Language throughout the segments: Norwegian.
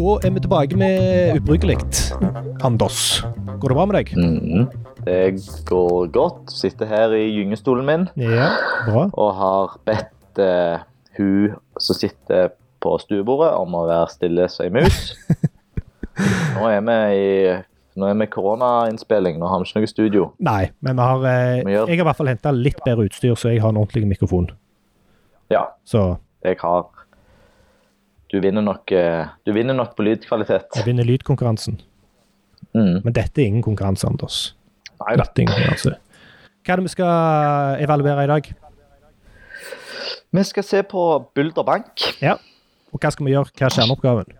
Da er vi tilbake med Ubrukelig. Anders, går det bra med deg? Mhm. Det går godt. Sitter her i gyngestolen min Ja, bra. og har bedt eh, hun som sitter på stuebordet om å være stille som ei mus. Nå er vi i nå er vi i koronainnspilling, nå har vi ikke noe studio. Nei, men vi har, eh, Vi gjør- jeg har i hvert fall henta litt bedre utstyr, så jeg har en ordentlig mikrofon. Ja, Så jeg har Du vinner nok, eh, du vinner nok på lydkvalitet. jeg vinner lydkonkurransen. Mm. Men dette er ingen konkurranse, Anders. Nei da. Dette er ingen konkurranse. Hva er det vi skal evaluere i dag? Vi skal se på Bulderbank. Ja. Og hva skal vi gjøre? Hva er kjerneoppgaven?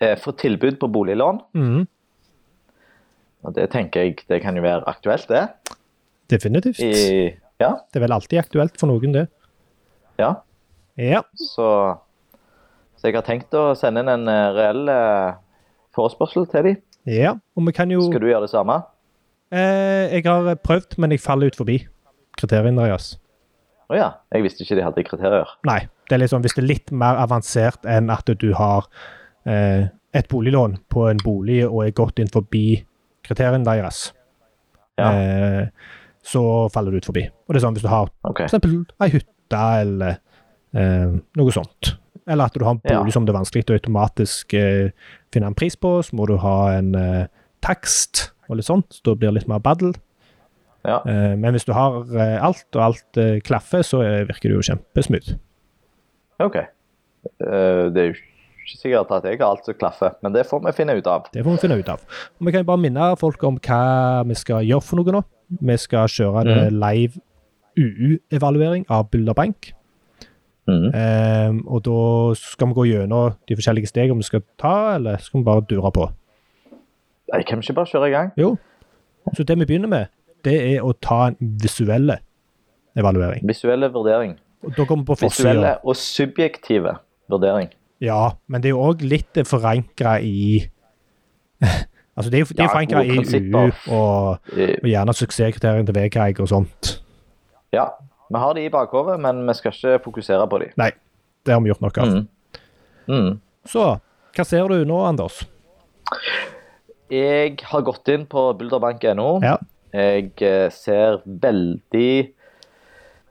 Eh, Få tilbud på boliglån. Mhm, Og det tenker jeg det kan jo være aktuelt, det. Definitivt. Det I, ja, er vel alltid aktuelt for noen, det. ja. Ja. Så, så jeg har tenkt å sende inn en eh, reell eh, forespørsel til dem. ja. Og vi kan jo Skal du gjøre det samme? eh, Jeg har prøvd, men jeg faller ut forbi kriteriene deres. Å ja. Jeg visste ikke de hadde kriterier. Nei. Det er liksom, hvis det er litt mer avansert enn at du har eh, et boliglån på en bolig og er godt inn forbi kriteriene deres, Ja. eh, så faller du ut forbi. Og det er sånn hvis du har OK. f.eks. ei hytte eller eh, noe sånt. Eller at du har en Ja. bolig som det er vanskelig å automatisk eh, finne en pris på, så må du ha en eh, takst og litt sånt, så da blir det litt mer baddel. Ja. Eh, men hvis du har eh, alt, og alt eh, klaffer, så eh, virker det jo kjempesmooth. ok. Eh, det er jo ikke sikkert at jeg har alt som klaffer, men det får vi finne ut av. Det får vi finne ut av. Og vi kan jo bare minne folk om hva vi skal gjøre for noe nå. Vi skal kjøre Mhm. en eh, live UU-evaluering av Bulderbank. Mhm. Eh, og da skal vi gå gjennom de forskjellige stegene vi skal ta, eller skal vi bare dure på? Jeg kan vi ikke bare kjøre i gang. Jo. Så det vi begynner med, det er å ta en visuelle evaluering. Visuelle vurdering. Og da kommer vi på første Visuelle og subjektive vurdering. Ja, men det er jo òg litt forankra i Altså, det er, jo- det er Ja, forankra gode i prinsipper. UU og, Eh, og gjerne suksesskriteriene til VKG og sånt. Ja. Vi har de i bakhodet, men vi skal ikke fokusere på de. Nei, det har vi gjort nok av. Mhm. Mm. Mhm. Så, hva ser du nå, Anders? Jeg har gått inn på bulderbank.no. Ja. Jeg eh, ser veldig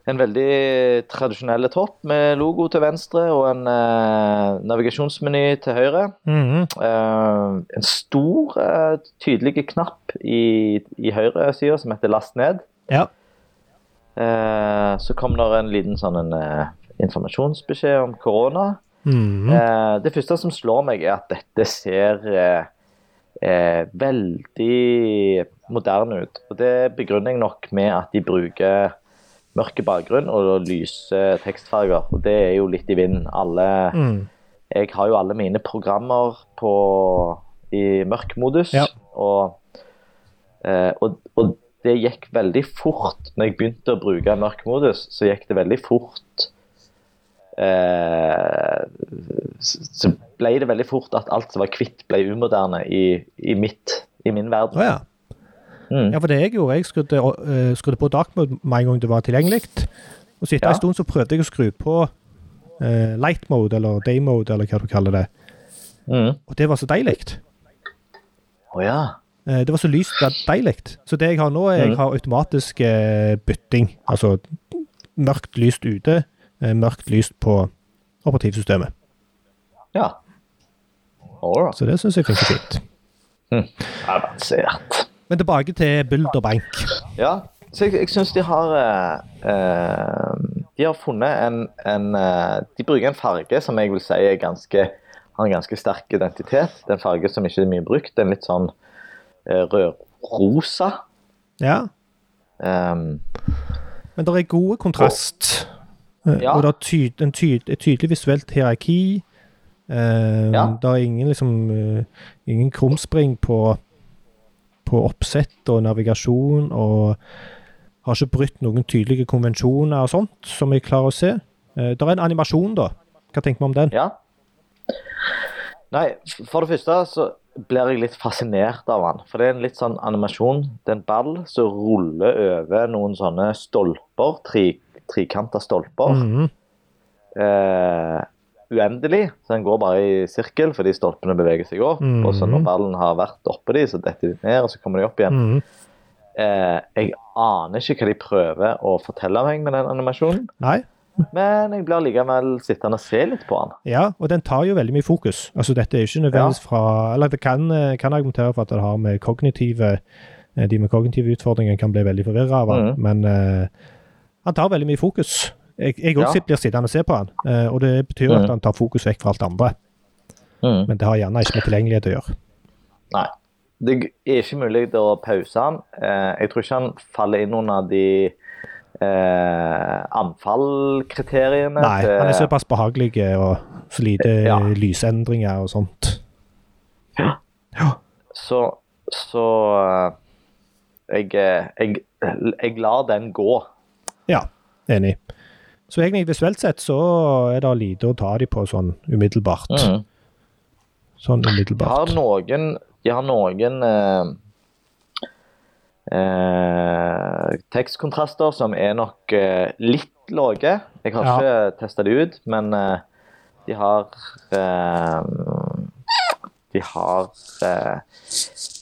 en veldig tradisjonell topp med logo til venstre og en eh, navigasjonsmeny til høyre. Mm-hmm. Eh, en stor, eh, tydelig knapp i, i høyresida som heter 'last ned'. Ja. Eh, så kom det en liten sånn en, eh, informasjonsbeskjed om korona. Mhm. Mm-hmm. Eh, det første som slår meg, er at dette ser eh, eh, veldig moderne ut. Og det begrunner jeg nok med at de bruker mørke bakgrunn og lyse tekstfarger. Og det er jo litt i vinden. Alle, Mm. jeg har jo alle mine programmer på, i mørk modus. Ja. Og, eh, og, og det gikk veldig fort. Når jeg begynte å bruke mørk modus, så gikk det veldig fort. Eh, s- så ble det veldig fort at alt som var hvitt, ble umoderne i, i mitt i min Å verden. ja. Mm. ja, for det jeg gjorde, jeg skrudde, eh, skrudde på dark mode med en gang det var tilgjengelig. Og så etter Ja. en stund så prøvde jeg å skru på eh, light mode, eller day mode, eller hva du kaller det. Mm. Og det var så deilig. Å ja. Eh, det var så lyst og deilig. Så det jeg har nå, er jeg Mm. har automatisk eh, bytting. Altså mørkt lyst ute, eh, mørkt lyst på operativsystemet. Ja. All right. Så det syns jeg funker fint. Avansert. Men tilbake til Bulderbank. Ja, så jeg, jeg syns de har eh, eh, De har funnet en, en eh, De bruker en farge som jeg vil si er ganske, har en ganske sterk identitet. Det er en farge som ikke er mye brukt. En litt sånn eh, rødrosa. Ja. Um, Men det er god kontrast. Eh, Ja. Og det er tyd, en tyd, et tydelig visuelt hierarki. Eh, Ja. Det er ingen, liksom, eh, ingen krumspring på, på oppsett og navigasjon. Og har ikke brutt noen tydelige konvensjoner og sånt, som jeg klarer å se. Eh, det er en animasjon, da. Hva tenker vi om den? Ja. Nei, for det første så blir jeg litt fascinert av han. For det er en litt sånn animasjon. Det er en ball som ruller over noen sånne stolper. Tri, Trikanta stolper. Mhm. Eh, uendelig, så den går bare i sirkel fordi stolpene beveger seg opp. Mhm. Og så når ballen har vært oppå de, så detter de ned, og så kommer de opp igjen. Mhm. Eh, jeg aner ikke hva de prøver å fortelle meg med den animasjonen, Nei. men jeg blir likevel sittende og se litt på den. Ja, og den tar jo veldig mye fokus. Altså, dette er ikke nødvendigvis fra Eller det kan, eh, kan argumentere for at det har med kognitive eh, De med kognitive utfordringer kan bli veldig forvirra av den, Mhm. men eh, han tar veldig mye fokus. Jeg jeg Ja. også blir sittende og se på han, eh, og det betyr at Mhm. han tar fokus vekk fra alt det andre. Men det har gjerne ikke med tilgjengelighet å gjøre. Nei. Det er ikke mulig å pause han. Eh, jeg tror ikke han faller inn under de eh, anfallkriteriene. Nei, til- han er såpass behagelig eh, og så lite Ja. eh, lysendringer og sånt. Så, så eh, jeg, eh, jeg, jeg lar den gå. Ja, enig. Så egentlig visuelt sett så er det lite å ta de på sånn umiddelbart. Mhm. Sånn Jeg har umiddelbart. noen, jeg har noen eh, eh, tekstkontraster som er nok eh, litt lave. Jeg har Ja. ikke testa de ut, men eh, de har eh, De har eh,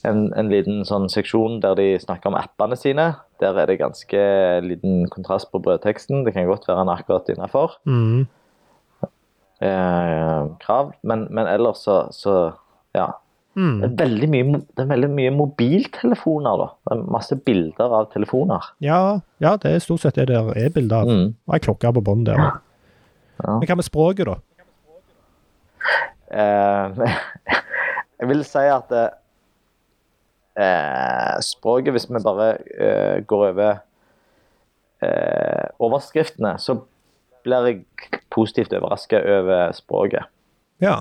en, en liten sånn seksjon der de snakker om appene sine. Der er det ganske liten kontrast på brødteksten. Det kan godt være han er akkurat innafor Mm. eh, krav, men, men ellers så, så ja. Mm. Det er veldig mye, mo- det er veldig mye mobiltelefoner, da. Det er masse bilder av telefoner. Ja, ja, det er stort sett det der er bilder av. Mm. Og ei klokke på bånn der. Ja. Men hva med språket, da? Eh, jeg vil si at eh, eh, språket, hvis vi bare eh, går over eh, overskriftene, så blir jeg positivt overraska over språket. Ja.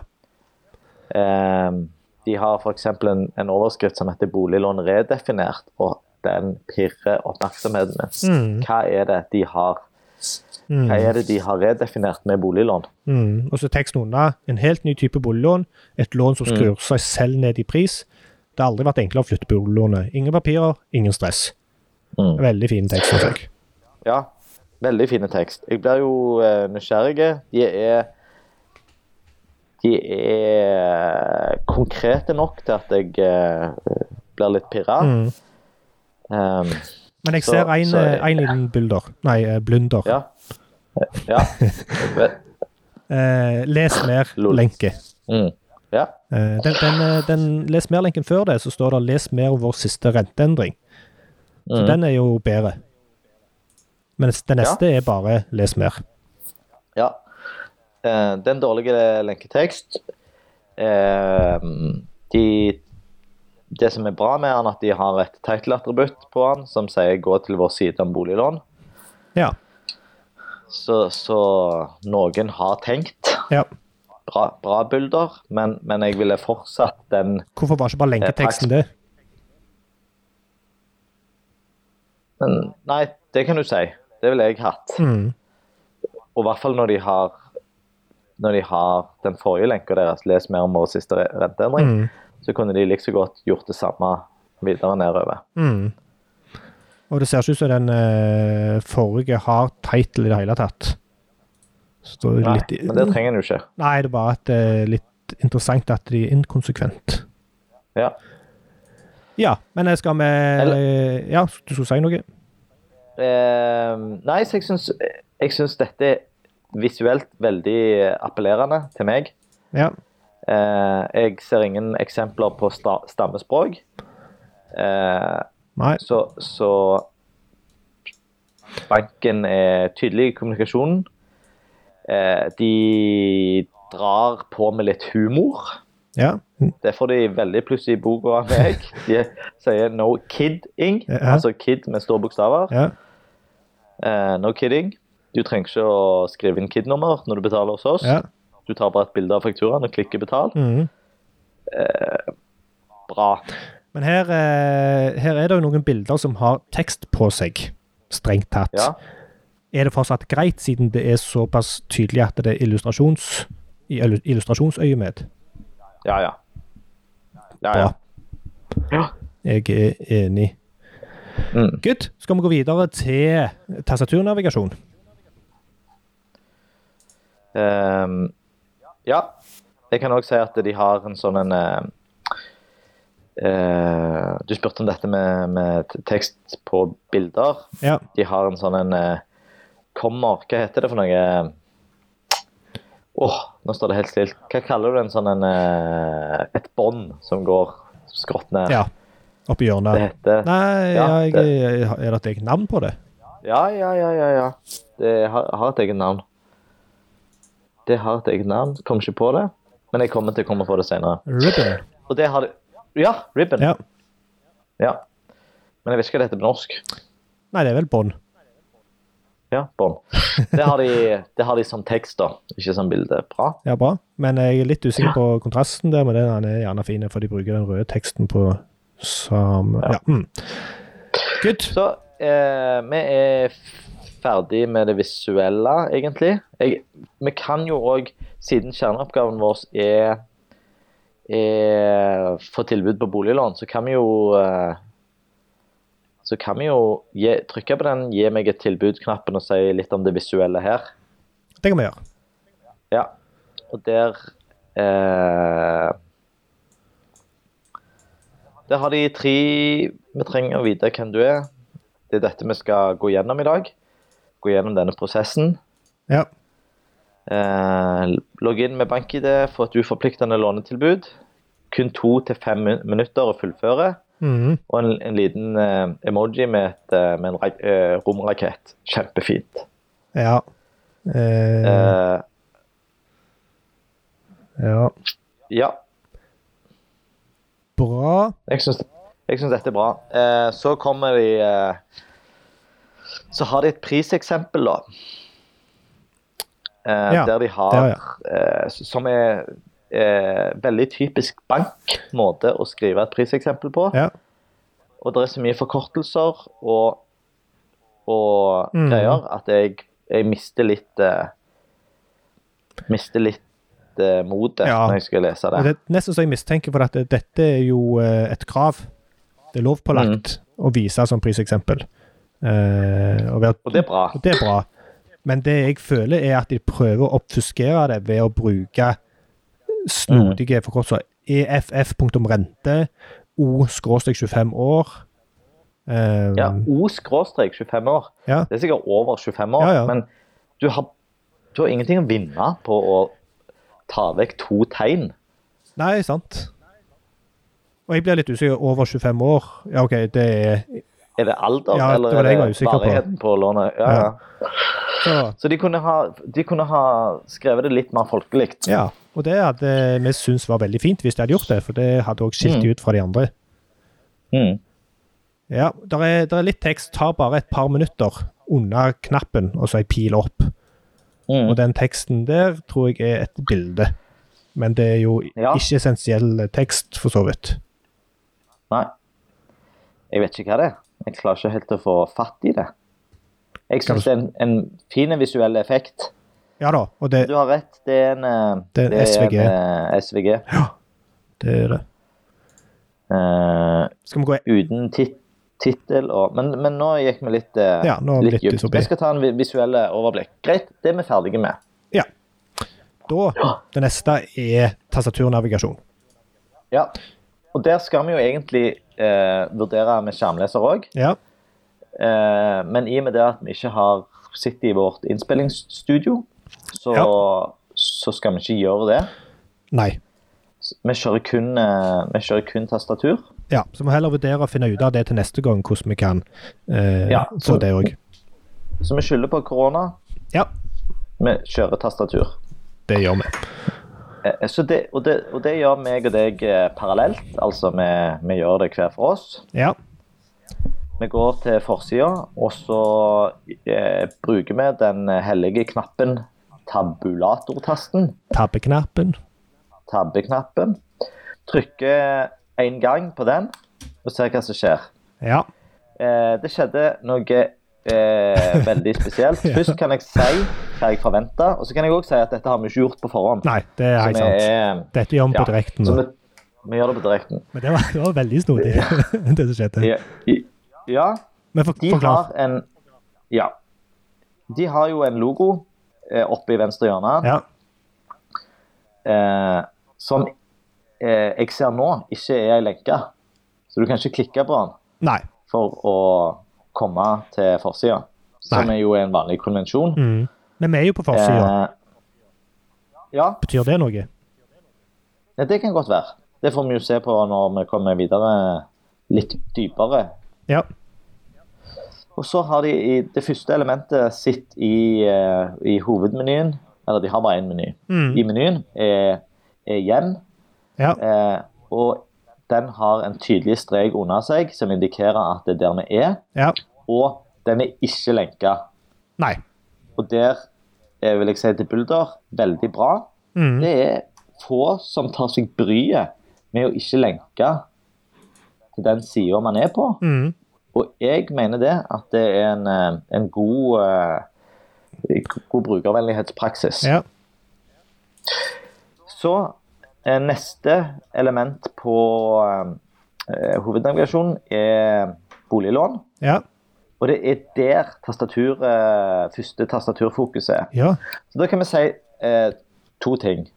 Eh, de har f.eks. En, en overskrift som heter 'Boliglån redefinert', og den pirrer oppmerksomheten min. Mm. Hva er det de har Mm. Hva er det de har redefinert med boliglån? Mm. Og så teksten unna. En helt ny type boliglån. Et lån Mm. som skrur seg selv ned i pris. Det har aldri vært enklere å flytte boliglånet. Ingen papirer, ingen stress. Mm. Veldig fin tekst, syns jeg. Ja, veldig fine tekst. Jeg blir jo eh, nysgjerrig. De er De er konkrete nok til at jeg eh, blir litt pirra. Mm. Um, Men jeg Så- ser en, så- eh, en liten bulder. Nei, eh, blunder. ja. Ja. Eh, les Lol. mer-lenke. Mm. ja. Eh, den, den, eh, den Les mer-lenken før det, så står det 'Les mer vår siste renteendring'. Så Mm. den er jo bedre. Mens den neste er bare 'les mer'. ja. Eh, det er en dårlig lenketekst. Eh, de det som er bra med han, at de har et title-attributt på han som sier 'gå til vår side om boliglån'. Ja. Så, så noen har tenkt. ja. Bra, bra bilder, men, men jeg ville fortsatt den Hvorfor var ikke bare lenketeksten det? men, Nei, det kan du si. Det ville jeg hatt. Mm. Og i hvert fall når de har når de har den forrige lenka deres, les mer om vår siste re- renteendring, Mm. så kunne de like så godt gjort det samme videre nedover. Mm. Og det ser ikke ut som den eh, forrige har title i det hele tatt. Så det er Nei, litt, men det trenger en jo ikke. Nei, det er bare at det er litt interessant at de er inkonsekvent. Ja. Ja, men eh, skal vi Ja, du skulle si noe? Eh, nei, så jeg syns, jeg syns dette er visuelt veldig appellerende til meg. Ja. Eh, jeg ser ingen eksempler på sta stammespråk. Eh, Nei. så, så banken er tydelig i kommunikasjonen. Eh, de drar på med litt humor. Ja. Mm. Det får de veldig plutselig i boka av meg. De sier 'no kidding', Ja. altså 'kid' med store bokstaver. ja. Eh, no kidding. Du trenger ikke å skrive inn KID-nummer når du betaler hos oss. ja. Du tar bare et bilde av fakturaen og klikker 'betal'. Mm. Bra. Men her, eh, her er det jo noen bilder som har tekst på seg, strengt tatt. Ja. Er det fortsatt greit, siden det er såpass tydelig at det er illustrasjons, i illu- illustrasjonsøyemed? Ja, ja. Ja, ja. Ja. Jeg er enig. Mm. Good. Skal vi gå videre til tastaturnavigasjon? Ehm, Ja. Jeg kan òg si at de har en sånn en eh, eh, Du spurte om dette med, med tekst på bilder. Ja. De har en sånn en eh, kommer Hva heter det for noe? Åh, nå står det helt stilt. Hva kaller du en sånn en eh, Et bånd som går skrått ned? ja. Oppi Det hjørnet. heter Nei, ja, Ja, jeg, er det et eget navn på det? Ja, ja, ja, ja. ja. Det har, har et eget navn. Det har et eget navn. Kom ikke på det, men jeg kommer til å komme på det senere. Ribbon. Og det har det Ja, ribbon. Ja. Ja. Men jeg vet ikke hva det heter på norsk. Nei, det er vel bånd. Ja, bånd. Det, har de- det har de som tekst, da, ikke som bilde. Bra. Ja, bra. Men jeg er litt usikker på kontrasten der, men den er gjerne fin, for de bruker den røde teksten på samme Ja. Mm. Good. Så eh, vi er ferdig med det visuelle, egentlig. Jeg, vi kan jo òg, siden kjerneoppgaven vår er, er få tilbud på boliglån, så kan vi jo eh, så kan vi jo gi, trykke på den 'gi meg et tilbud'-knappen og si litt om det visuelle her. Det kan vi gjøre. Ja. Og der eh, Der har de tre Vi trenger å vite hvem du er. Det er dette vi skal gå gjennom i dag. Gå gjennom denne prosessen. Ja. Eh, Logg inn med BankID, få et uforpliktende lånetilbud. Kun to til fem min- minutter å fullføre. Mhm. Og en, en liten eh, emoji med, et, eh, med en ra- eh, romrakett. Kjempefint. Ja. Eh, Eh, ja. ja. Bra. Jeg syns, jeg syns dette er bra. Eh, så kommer de eh, Så har de et priseksempel, da. Eh, Ja, der de har det har eh, s- Som er eh, veldig typisk bankmåte å skrive et priseksempel på. Ja. Og det er så mye forkortelser og, og Mhm. greier at jeg, jeg mister litt eh, Mister litt eh, motet Ja. når jeg skal lese det. Det er nesten så jeg mistenker, for at det- dette er jo eh, et krav. Det er lovpålagt å vise som priseksempel. Eh, og, ved, Og det er bra. og det er bra. Men det jeg føler, er at de prøver å oppfuskere det ved å bruke snodige forkortelser. E EFF.rente, O-25 år. Eh, Ja, O skråstrek 25 år. Ja. Det er sikkert over 25 år, Ja, ja. men du har, du har ingenting å vinne på å ta vekk to tegn. Nei, sant. Og jeg blir litt usikker. Over 25 år? Ja, OK, det er Er det alder, Ja, det eller var det jeg er var usikker på. varigheten på lånet? Ja, Ja. ja. så, Så de kunne, ha, de kunne ha skrevet det litt mer folkelig. Ja, og det hadde vi syntes var veldig fint hvis de hadde gjort det, for det hadde òg skilt de ut fra de andre. Mm. Ja, der er, der er litt tekst, tar bare et par minutter under knappen, og så ei pil opp. Mm. Og den teksten der tror jeg er et bilde, men det er jo Ja. ikke essensiell tekst, for så vidt. Nei. Jeg vet ikke hva det er. Jeg klarer ikke helt å få fatt i det. Jeg Kan du- syns det er en, en fin visuell effekt. Ja da, og det, Du har rett, det er en, eh, Det er en SVG. en, eh, SVG. det er det. Eh, Skal vi gå uten tit tittel og men, men nå gikk vi litt, eh, Ja, nå litt litt dypt. utopi. Jeg skal ta en vi- visuelle overblikk. Greit, det er vi ferdige med. Ja. Da, det neste er tastaturnavigasjon. Ja. Og der skal vi jo egentlig eh, vurdere med skjermleser òg. Ja. Eh, men i og med det at vi ikke har sittet i vårt innspillingsstudio, så, så skal vi ikke gjøre det. Nei. S- Vi kjører kun, eh, vi kjører kun tastatur. Ja, så må vi heller vurdere å finne ut av det til neste gang, hvordan vi kan eh, Ja, få så- det òg. Så vi skylder på korona. Ja, Vi kjører tastatur. det gjør vi. Eh, Så det, og, det, og det gjør meg og deg eh, parallelt. Altså vi, vi gjør det hver for oss. Ja. Vi går til forsida, og så eh, bruker vi den hellige knappen tabulatortasten. Tabbeknappen. Tabbeknappen. Trykker én gang på den og ser hva som skjer. Ja. Eh, det skjedde noe eh, veldig spesielt. Først kan jeg si hva jeg forventer, og så kan jeg òg si at dette har vi ikke gjort på forhånd. Nei, det er helt Så vi sant. er- Dette gjør vi ja, på direkten. så nå. vi, vi gjør det på direkten. Men det var, det var veldig snodig, det som skjedde. Ja, i- ja Men for, De forklar. har en Ja. De har jo en logo eh, oppe i venstre hjørne. Ja. eh, som eh, jeg ser nå, ikke er ei lenke. Så du kan ikke klikke på den Nei. for å komme til forsida, som Nei. er jo en vanlig konvensjon. Mm. Men vi er jo på forsida. Eh, ja, Betyr det noe? Ja, det kan godt være. Det får vi jo se på når vi kommer videre litt dypere. Ja. Og så har de i det første elementet sitt i, eh, i hovedmenyen, eller de har bare én meny. Mm. I menyen er, er hjem, ja. eh, og den har en tydelig strek under seg som indikerer at det er der vi er, Ja. og den er ikke lenka. Nei. Og der eh, vil jeg si til Bulder veldig bra. Mm. Det er få som tar seg bryet med å ikke lenke til den sida man er på. Mm. Og jeg mener det at det er en, eh, en god, eh, god brukervennlighetspraksis. Ja. Så eh, neste element på eh, hovednavigasjonen er boliglån. Ja. Og det er der tastatur, eh, første tastaturfokuset er. Ja. Så da kan vi si eh, to ting.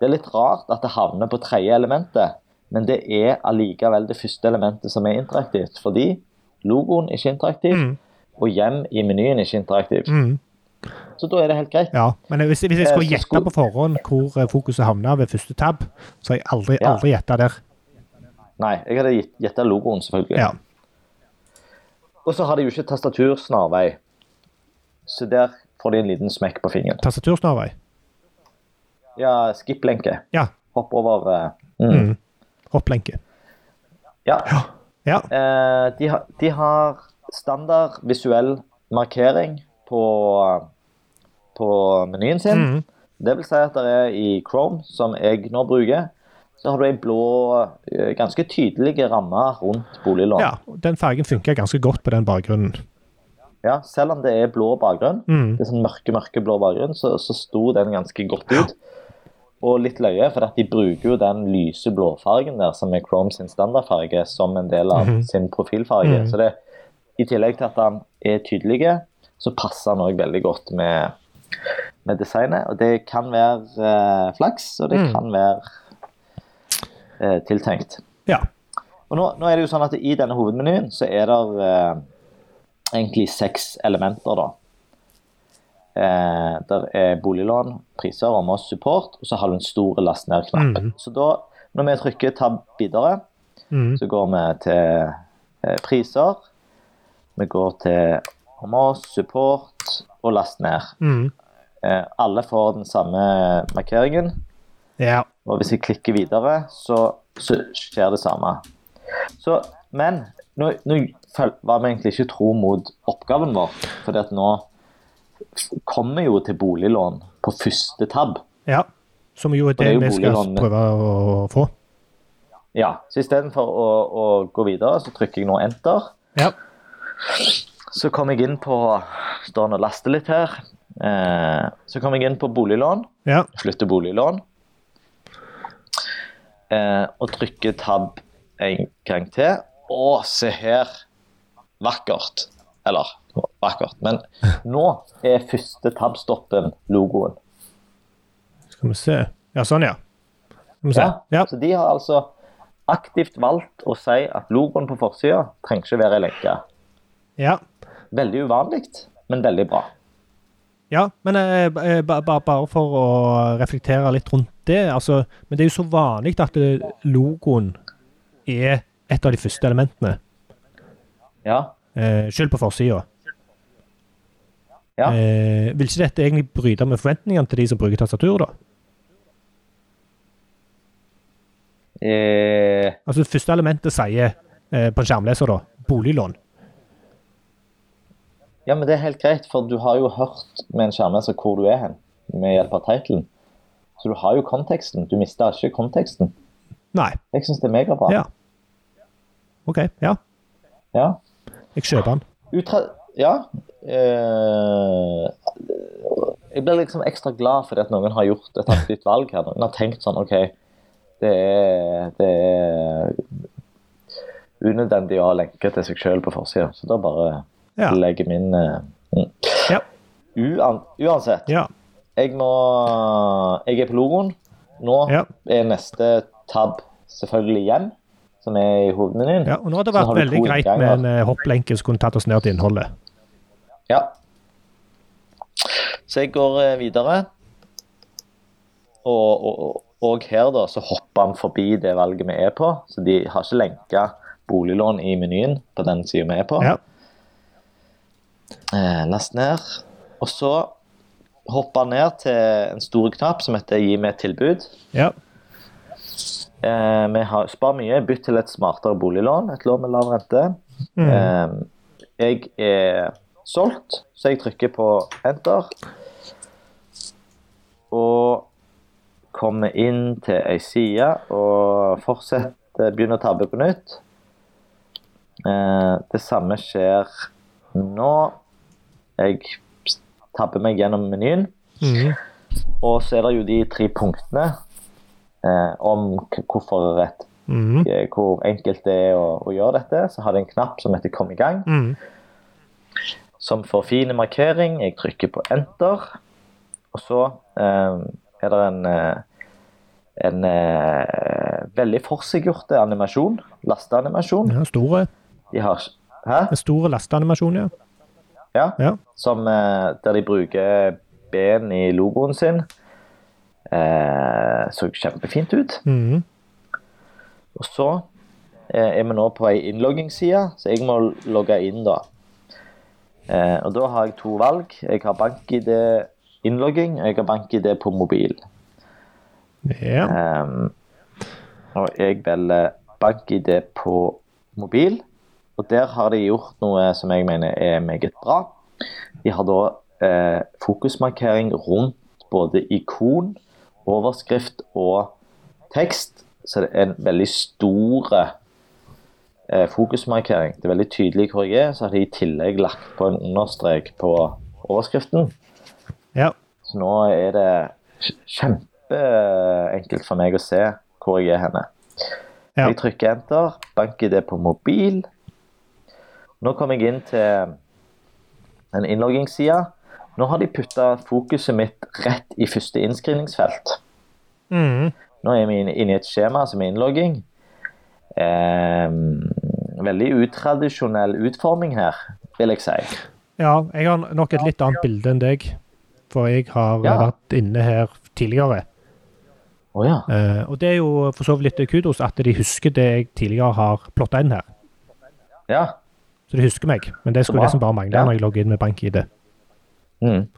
Det er litt rart at det havner på tredje elementet, men det er allikevel det første elementet som er interaktivt, fordi logoen er ikke interaktiv, Mm. og hjem i menyen er ikke interaktiv. Mm. Så da er det helt greit. ja. Men hvis, hvis jeg skulle Eh, så gjette skulle- på forhånd hvor eh, fokuset havna ved første tab, så har jeg aldri, Ja. aldri gjetta der. Nei, jeg hadde gitt- gjetta logoen, selvfølgelig. Ja. Og så har de jo ikke tastatursnarvei, så der får de en liten smekk på fingeren. Tastatursnarvei. Ja, skip-lenke. Ja. Hopp over eh, mm. Mm. Hopplenke. Ja. Ja. Eh, de, har, de har standard visuell markering på, på menyen sin. Mm. Det vil si at det er i Chrome, som jeg nå bruker, så har du en blå, eh, ganske tydelig ramme rundt boliglån. ja. Den fargen funker ganske godt på den bakgrunnen. Ja, selv om det er blå bakgrunn, Mm. det er sånn mørke, mørke blå bakgrunn, så, så sto den ganske godt ut. Og litt løye, for at de bruker jo den lyse blåfargen der, som er Chrome sin standardfarge, som en del av sin profilfarge. Så det, i tillegg til at han er tydelig, så passer han òg veldig godt med, med designet. Og det kan være eh, flaks, og det kan være eh, tiltenkt. Ja. Og nå, nå er det jo sånn at I denne hovedmenyen så er det eh, egentlig seks elementer. da. Eh, der er boliglån, priser, om oss, support, og så har du en stor last ned-knapp. Så da, når vi trykker tab videre, Mm. så går vi til eh, priser. Vi går til om oss, support og last ned. Mm. Eh, alle får den samme markeringen. Ja. Og hvis jeg klikker videre, så, så skjer det samme. Så, men nå, nå føl- var vi egentlig ikke tro mot oppgaven vår, for at nå kommer vi jo til boliglån på første tab. ja. Som jo er det det er jo vi skal boliglån. prøve å få. Ja, så istedenfor å, å gå videre, så trykker jeg nå enter. Ja. Så kom jeg inn på Står nå og laster litt her. Eh, så kom jeg inn på boliglån. Ja. flytte boliglån. Eh, og trykke tab en gang til. Å, se her! Vakkert. Eller vakkert. Men nå er første tabstoppen logoen. Skal vi se. Ja, sånn, ja. Skal vi se. Ja. Så de har altså aktivt valgt å si at logoen på forsida trenger ikke være ei lenke. Ja. Veldig uvanlig, men veldig bra. Ja, men eh, ba- eh, ba- ba- bare for å reflektere litt rundt det. Altså, men det er jo så vanlig at eh, logoen er et av de første elementene. Ja. Eh, selv på forsida. Ja. Eh, vil ikke dette egentlig bryte med forventningene til de som bruker tastatur, da? Eh, Altså, det første elementet sier eh, på en skjermleser, da, boliglån. ja, men det er helt greit, for du har jo hørt med en skjermleser hvor du er hen, med hjelp av titlen. Så du har jo konteksten. Du mister ikke konteksten. Nei. Jeg syns det er megabra. Ja. OK. Ja. Ja. Jeg kjøper den. Utra... Ja. Eh, jeg blir liksom ekstra glad fordi at noen har gjort et aktivt valg her. Noen har tenkt sånn OK, det er, det er unødvendig å ha lenke til seg sjøl på forsida, så da bare Ja. legger vi inn eh, mm. Ja. Uan, Uansett, Ja. jeg må Jeg er på logoen. Nå Ja. er neste tab selvfølgelig igjen, som er i hovedmenyen. Ja, og nå hadde det Så har vært du veldig to greit med innganger. en eh, hopplenke som kunne tatt oss ned til innholdet. Ja. Så jeg går eh, videre. Og, og, og her da, så hopper han forbi det valget vi er på. Så de har ikke lenka boliglån i menyen på den sida vi er på. Ja. Eh, last ned. Og så hopper han ned til en stor knapp som heter 'gi meg et tilbud'. ja. Eh, vi har spar mye, bytt til et smartere boliglån, et lån med lav rente. Mm. Eh, jeg er solgt, så jeg trykker på enter. Og kommer inn til ei side og fortsetter, begynner å tabbe på nytt. Eh, det samme skjer nå. Jeg tabber meg gjennom menyen. Eh. Mhm. Og så er det jo de tre punktene eh, om k hvorfor et, Mhm. eh, hvor enkelt det er å, å gjøre dette. Så har det en knapp som heter 'kom i gang', Mhm. som får fin markering. Jeg trykker på enter, og så eh, er det en eh, en eh, veldig forseggjort animasjon, lasteanimasjon. Ja, store, De har Hæ? en store lasteanimasjon, ja. Ja. Ja. Som, eh, der de bruker ben i logoen sin. Eh, så kjempefint ut. Mhm. Og så eh, er vi nå på ei innloggingsside, så jeg må logge inn da. Eh, og da har jeg to valg. Jeg har bank-ID innlogging, og jeg har bank-ID på mobil. ja. Ehm, og jeg velger bank-ID på mobil, og der har de gjort noe som jeg mener er meget bra. De har da eh, fokusmarkering rundt både ikon, overskrift og tekst, så det er en veldig stor eh, fokusmarkering. Det er veldig tydelig hvor jeg er, så har de i tillegg lagt på en understrek på overskriften. Ja. Så nå er det kj- kjempeenkelt for meg å se hvor jeg er henne. Ja. Jeg trykker enter, banker det på mobil. Nå kom jeg inn til en innloggingsside. Nå har de putta fokuset mitt rett i første innskrivningsfelt. Mhm. Nå er vi inne inne i et skjema som er innlogging. Ehm, veldig utradisjonell utforming her, vil jeg si. ja. Jeg har nok et litt annet bilde enn deg, for jeg har eh, Ja. vært inne her tidligere. Å ja. Eh, og det er jo for så vidt litt kudos at de husker det jeg tidligere har plotta inn her. ja. Så de husker meg, men det skulle bra. nesten bare mangle Ja. når jeg logger inn med bank-ID. Mm.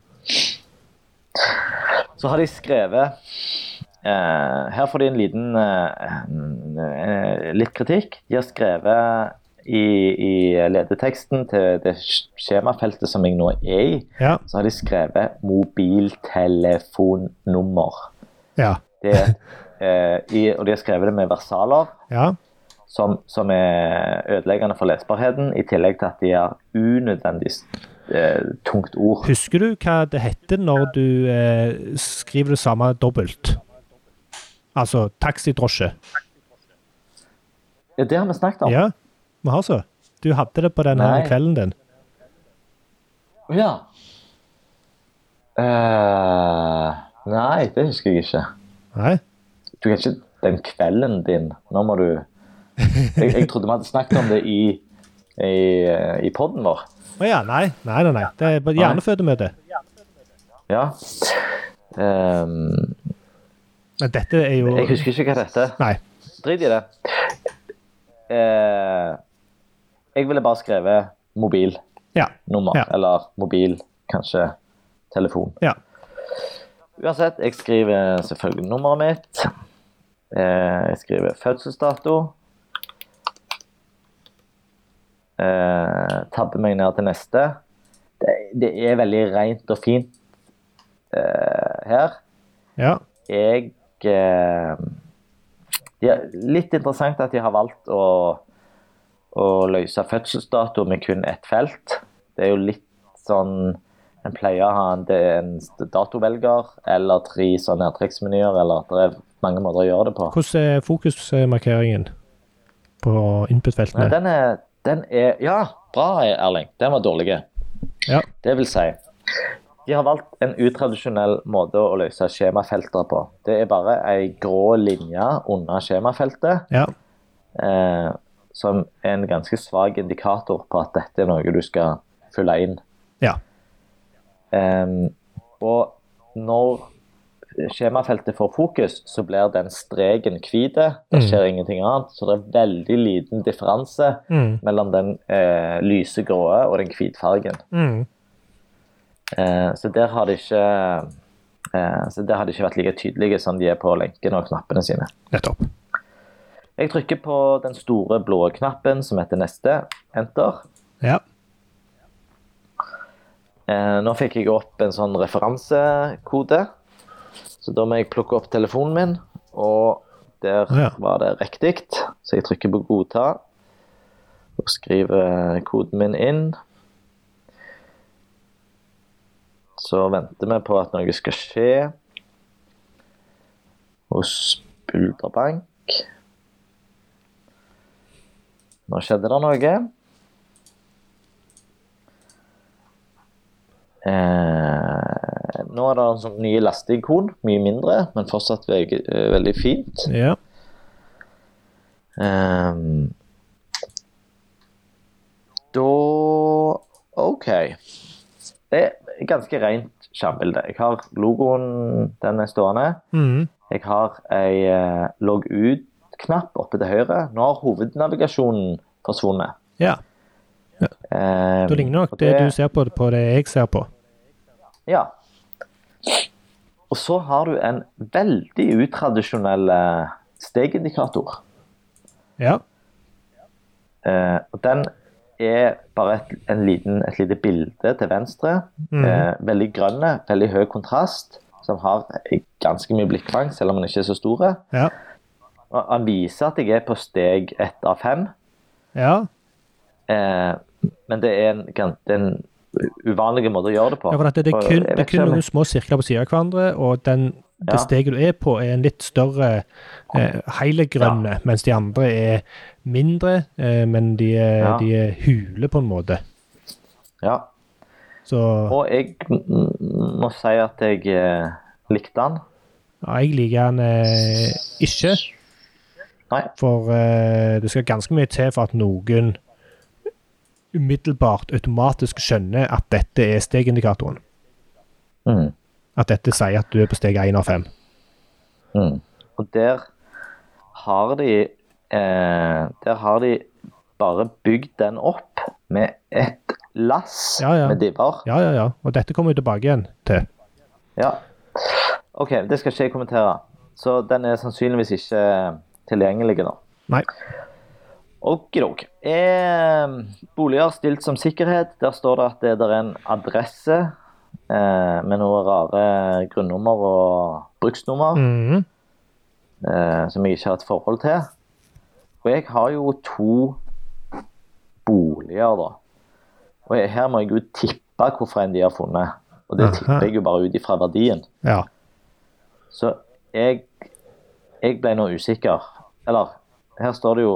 Så har de skrevet eh, Her får de en liten eh, eh, litt kritikk. De har skrevet i, i ledeteksten til det sk- skjemafeltet som jeg nå er i, Ja. så har de skrevet 'mobiltelefonnummer'. Ja. Det, eh, i, og de har skrevet det med versaler, Ja. som, som er ødeleggende for lesbarheten, i tillegg til at de har unødvendig eh, tungt ord. Husker du hva det heter når du eh, skriver det samme dobbelt? Altså taxidrosje. Ja, det har vi snakket om. Ja, vi har så. Du hadde det på den her Nei. kvelden din. Ja. Eh, nei, det husker jeg ikke. Nei? Du kan ikke den kvelden din. Nå må du Jeg, jeg trodde vi hadde snakket om det i, i, eh, i poden vår. Å ja, nei. Nei, nei, nei. Det er bare hjernefødemøte. Ja. Ehm, Men dette er jo jeg husker ikke hva det heter. Nei. Drit i det. Eh, jeg ville bare skrevet mobilnummer, Ja. Ja. eller mobil, kanskje telefon. Ja. Uansett, jeg skriver selvfølgelig nummeret mitt. Eh, jeg skriver fødselsdato. Eh, tabber meg ned til neste. Det, det er veldig rent og fint eh, her. Ja. Jeg eh, ja, Litt interessant at de har valgt å, å løse fødselsdato med kun ett felt. Det er jo litt sånn En pleier å ha en, det er en datovelger eller tre sånne nedtrekksmenyer, eller det er mange måter å gjøre det på. Hvordan er fokusmarkeringen på Men input-feltene? den er, den er Ja, bra, Erling. Den var dårlig. Ja. Det vil si De har valgt en utradisjonell måte å løse skjemafelter på. Det er bare ei grå linje under skjemafeltet, Ja. eh, som er en ganske svak indikator på at dette er noe du skal fylle inn. Ja. Ehm, og når skjemafeltet får fokus, så blir den streken hvit. Det skjer ingenting annet, så det er veldig liten differanse Mm. mellom den eh, lysegrå og den hvitfargen. Mm. Eh, så der har de ikke eh, så der har de ikke vært like tydelige som de er på lenkene og knappene sine. Nettopp. Jeg trykker på den store blå knappen som heter neste. Enter. Ja. Eh, nå fikk jeg opp en sånn referansekode, så da må jeg plukke opp telefonen min, og der Ja. var det riktig. Så jeg trykker på godta, og skriver koden min inn. Så venter vi på at noe skal skje hos Bulderbank. Nå skjedde det noe. Eh, nå er det en sånn ny lasteikon, mye mindre, men fortsatt veg, eh, veldig fint. Ja. Ehm, da OK. Det er ganske rent skjermbilde. Jeg har logoen, den er stående. Mm. Jeg har ei eh, logg ut-knapp oppe til høyre. Nå har hovednavigasjonen forsvunnet. ja. Ehm, Da ligner nok og det du ser på, på det jeg ser på. Ja. Og så har du en veldig utradisjonell eh, stegindikator. Ja. Eh, og den er bare et, en liten, et lite bilde til venstre. Mhm. Eh, veldig grønne, veldig høy kontrast, som har ganske mye blikkfang, selv om den ikke er så stor. Ja. Og Han viser at jeg er på steg ett av fem, Ja. eh, men det er en, gan- det er en uvanlig måte å gjøre det på. ja for at det, det, er Og kun, jeg det er vet ikke kun om- noen små sirkler på siden av hverandre, og den, det Ja. steget du er på, er en litt større eh, heilegrønne, mens de andre er mindre, eh, men de er, Ja. de er hule på en måte. Ja. Så Og jeg m- m- må si at jeg eh, likte den. ja, jeg liker den eh, ikke, Nei. for eh, det skal ganske mye til for at noen umiddelbart automatisk skjønner at dette er stegindikatoren. Mm. At dette sier at du er på steg 1 av 5. Mm. Og der har de eh, Der har de bare bygd den opp med et lass Ja, ja. med dibber. Ja, ja, ja. Og dette kommer vi tilbake igjen til. Ja. OK, det skal ikke jeg kommentere. Så den er sannsynligvis ikke eh, tilgjengelig nå. Nei. Okidok. Eh, boliger stilt som sikkerhet. Der står det at det der er en adresse eh, med noen rare grunnummer og bruksnummer. Mhm. eh, som jeg ikke har et forhold til. Og jeg har jo to boliger, da. Og jeg- her må jeg jo tippe hvorfor en de har funnet. Og det Aha. tipper jeg jo bare ut ifra verdien. Ja. Så jeg, jeg ble nå usikker. Eller, her står det jo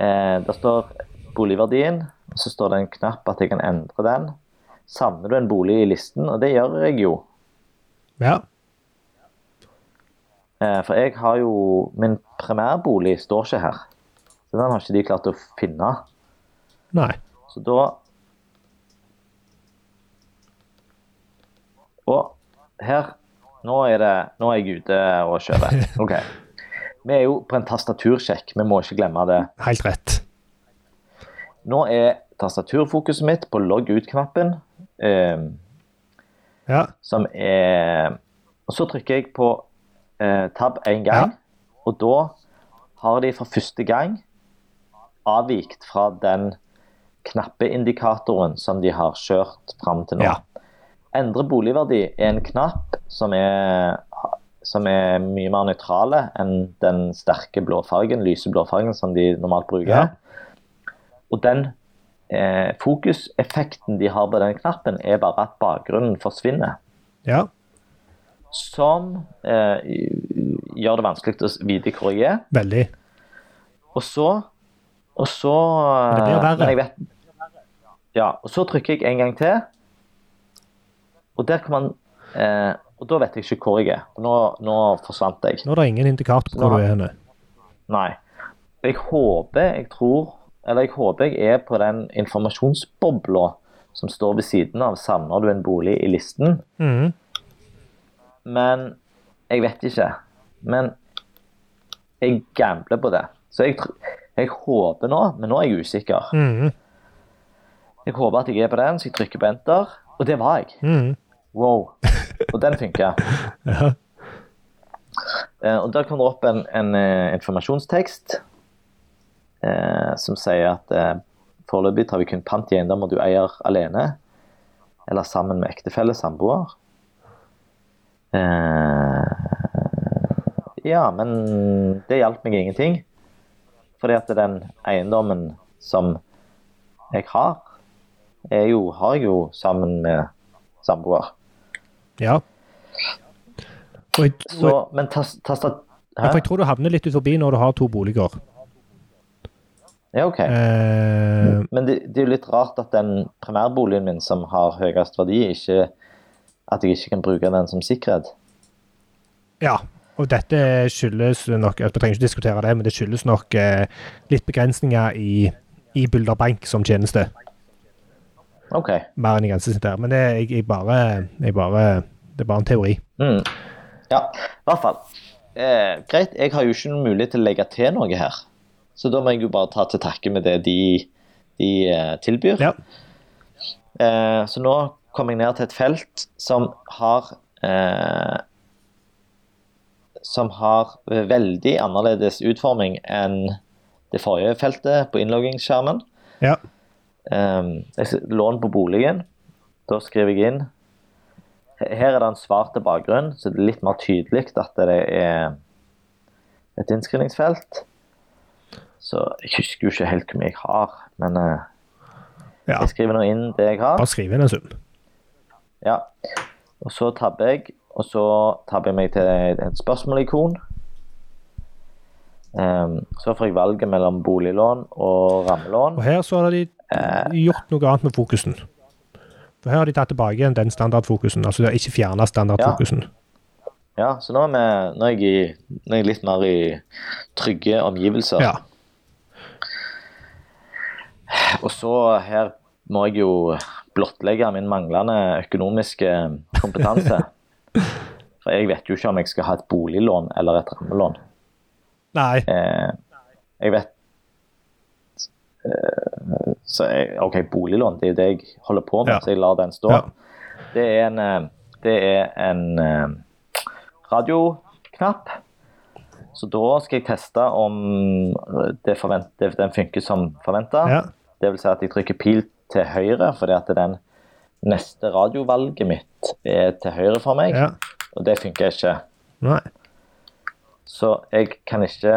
eh, Der står boligverdien, og så står det en knapp at jeg kan endre den. Savner du en bolig i listen? Og det gjør jeg jo. Ja. Eh, For jeg har jo Min primærbolig står ikke her. Så den har ikke de klart å finne. Nei. Så da Og her Nå er, det, nå er jeg ute og kjører. OK. Vi er jo på en tastatursjekk, vi må ikke glemme det. Helt rett. Nå er tastaturfokuset mitt på logg ut-knappen, eh, Ja. som er Og så trykker jeg på eh, tab én gang, og da har de for første gang avvikt fra den knappeindikatoren som de har kjørt fram til nå. Ja. Endre boligverdi er en knapp som er, som er mye mer nøytrale enn den sterke blåfargen, lyse blåfargen som de normalt bruker. Ja. Og den eh, fokuseffekten de har på den knappen, er bare at bakgrunnen forsvinner. Ja. Som eh, gjør det vanskelig å vite hvor jeg er. Veldig. Og så Og så eh, det blir verre. men jeg vet, Ja, og så trykker jeg en gang til. Og der kan man eh, Og da vet jeg ikke hvor jeg er. Og nå, nå forsvant jeg. Nå er det ingen indikator på hvor du er henne. Nei. Jeg håper jeg tror Eller jeg håper jeg er på den informasjonsbobla som står ved siden av 'savner du en bolig' i listen. Mhm. Men jeg vet ikke. Men jeg gambler på det. Så jeg, tr- jeg håper nå, men nå er jeg usikker. Mhm. Jeg håper at jeg er på den, så jeg trykker på enter. Og det var jeg. Mhm. Wow. Og den funka. Ja. Eh, og der kom det opp en, en eh, informasjonstekst eh, som sier at eh, foreløpig tar vi kun pant i eiendommer du eier alene eller sammen med ektefelle, samboer. Eh, ja, men det hjalp meg ingenting. Fordi at den eiendommen som jeg har, er jo, har jeg jo sammen med samboer. ja. Og jeg, og jeg, Så, men tas- tasta... ja, for Hæ? jeg tror du havner litt ut forbi når du har to boliger. Ja, OK. Eh, Men det, det er jo litt rart at den primærboligen min som har høyest verdi, ikke At jeg ikke kan bruke den som sikkerhet. Ja, og dette skyldes nok Vi trenger ikke diskutere det, men det skyldes nok eh, litt begrensninger i, i Bulder Bank som tjeneste. OK. Mer enn i grensesnitt der. Men det, jeg, jeg bare, jeg bare, det er bare en teori. Mm. Ja, i hvert fall. Eh, greit, jeg har jo ikke noen mulighet til å legge til noe her. Så da må jeg jo bare ta til takke med det de, de eh, tilbyr. Ja. Eh, så nå kom jeg ned til et felt som har eh, Som har veldig annerledes utforming enn det forrige feltet på innloggingsskjermen. ja. Ehm, jeg s- lån på boligen. Da skriver jeg inn. Her er det en svart bakgrunn, så det er litt mer tydelig at det er et innskrivningsfelt. Så jeg husker jo ikke helt hvor mye jeg har, men eh, ja. jeg skriver nå inn det jeg har. Bare skriv inn en sum. Ja. Og så tabber jeg, og så tabber jeg meg til et spørsmål-ikon. Ehm, så får jeg valget mellom boliglån og rammelån. Og her så har de gjort noe annet med fokusen. For her har de tatt tilbake igjen den standardfokusen. Altså de har ikke fjerna standardfokusen. Ja, så nå er, vi, nå, er jeg i, nå er jeg litt mer i trygge omgivelser. Ja. Og så her må jeg jo blottlegge min manglende økonomiske eh, kompetanse. For jeg vet jo ikke om jeg skal ha et boliglån eller et rammelån. Nei. Eh, jeg vet eh, så jeg, OK, boliglån, det er jo det jeg holder på med, Ja. så jeg lar den stå. Ja. Det er en, eh, det er en eh, radioknapp. Så da skal jeg teste om det forvent, det, den funker som forventa. Ja. Det vil si at jeg trykker pil til høyre, fordi at den neste radiovalget mitt er til høyre for meg, ja. og det funker ikke. Nei. Så jeg kan ikke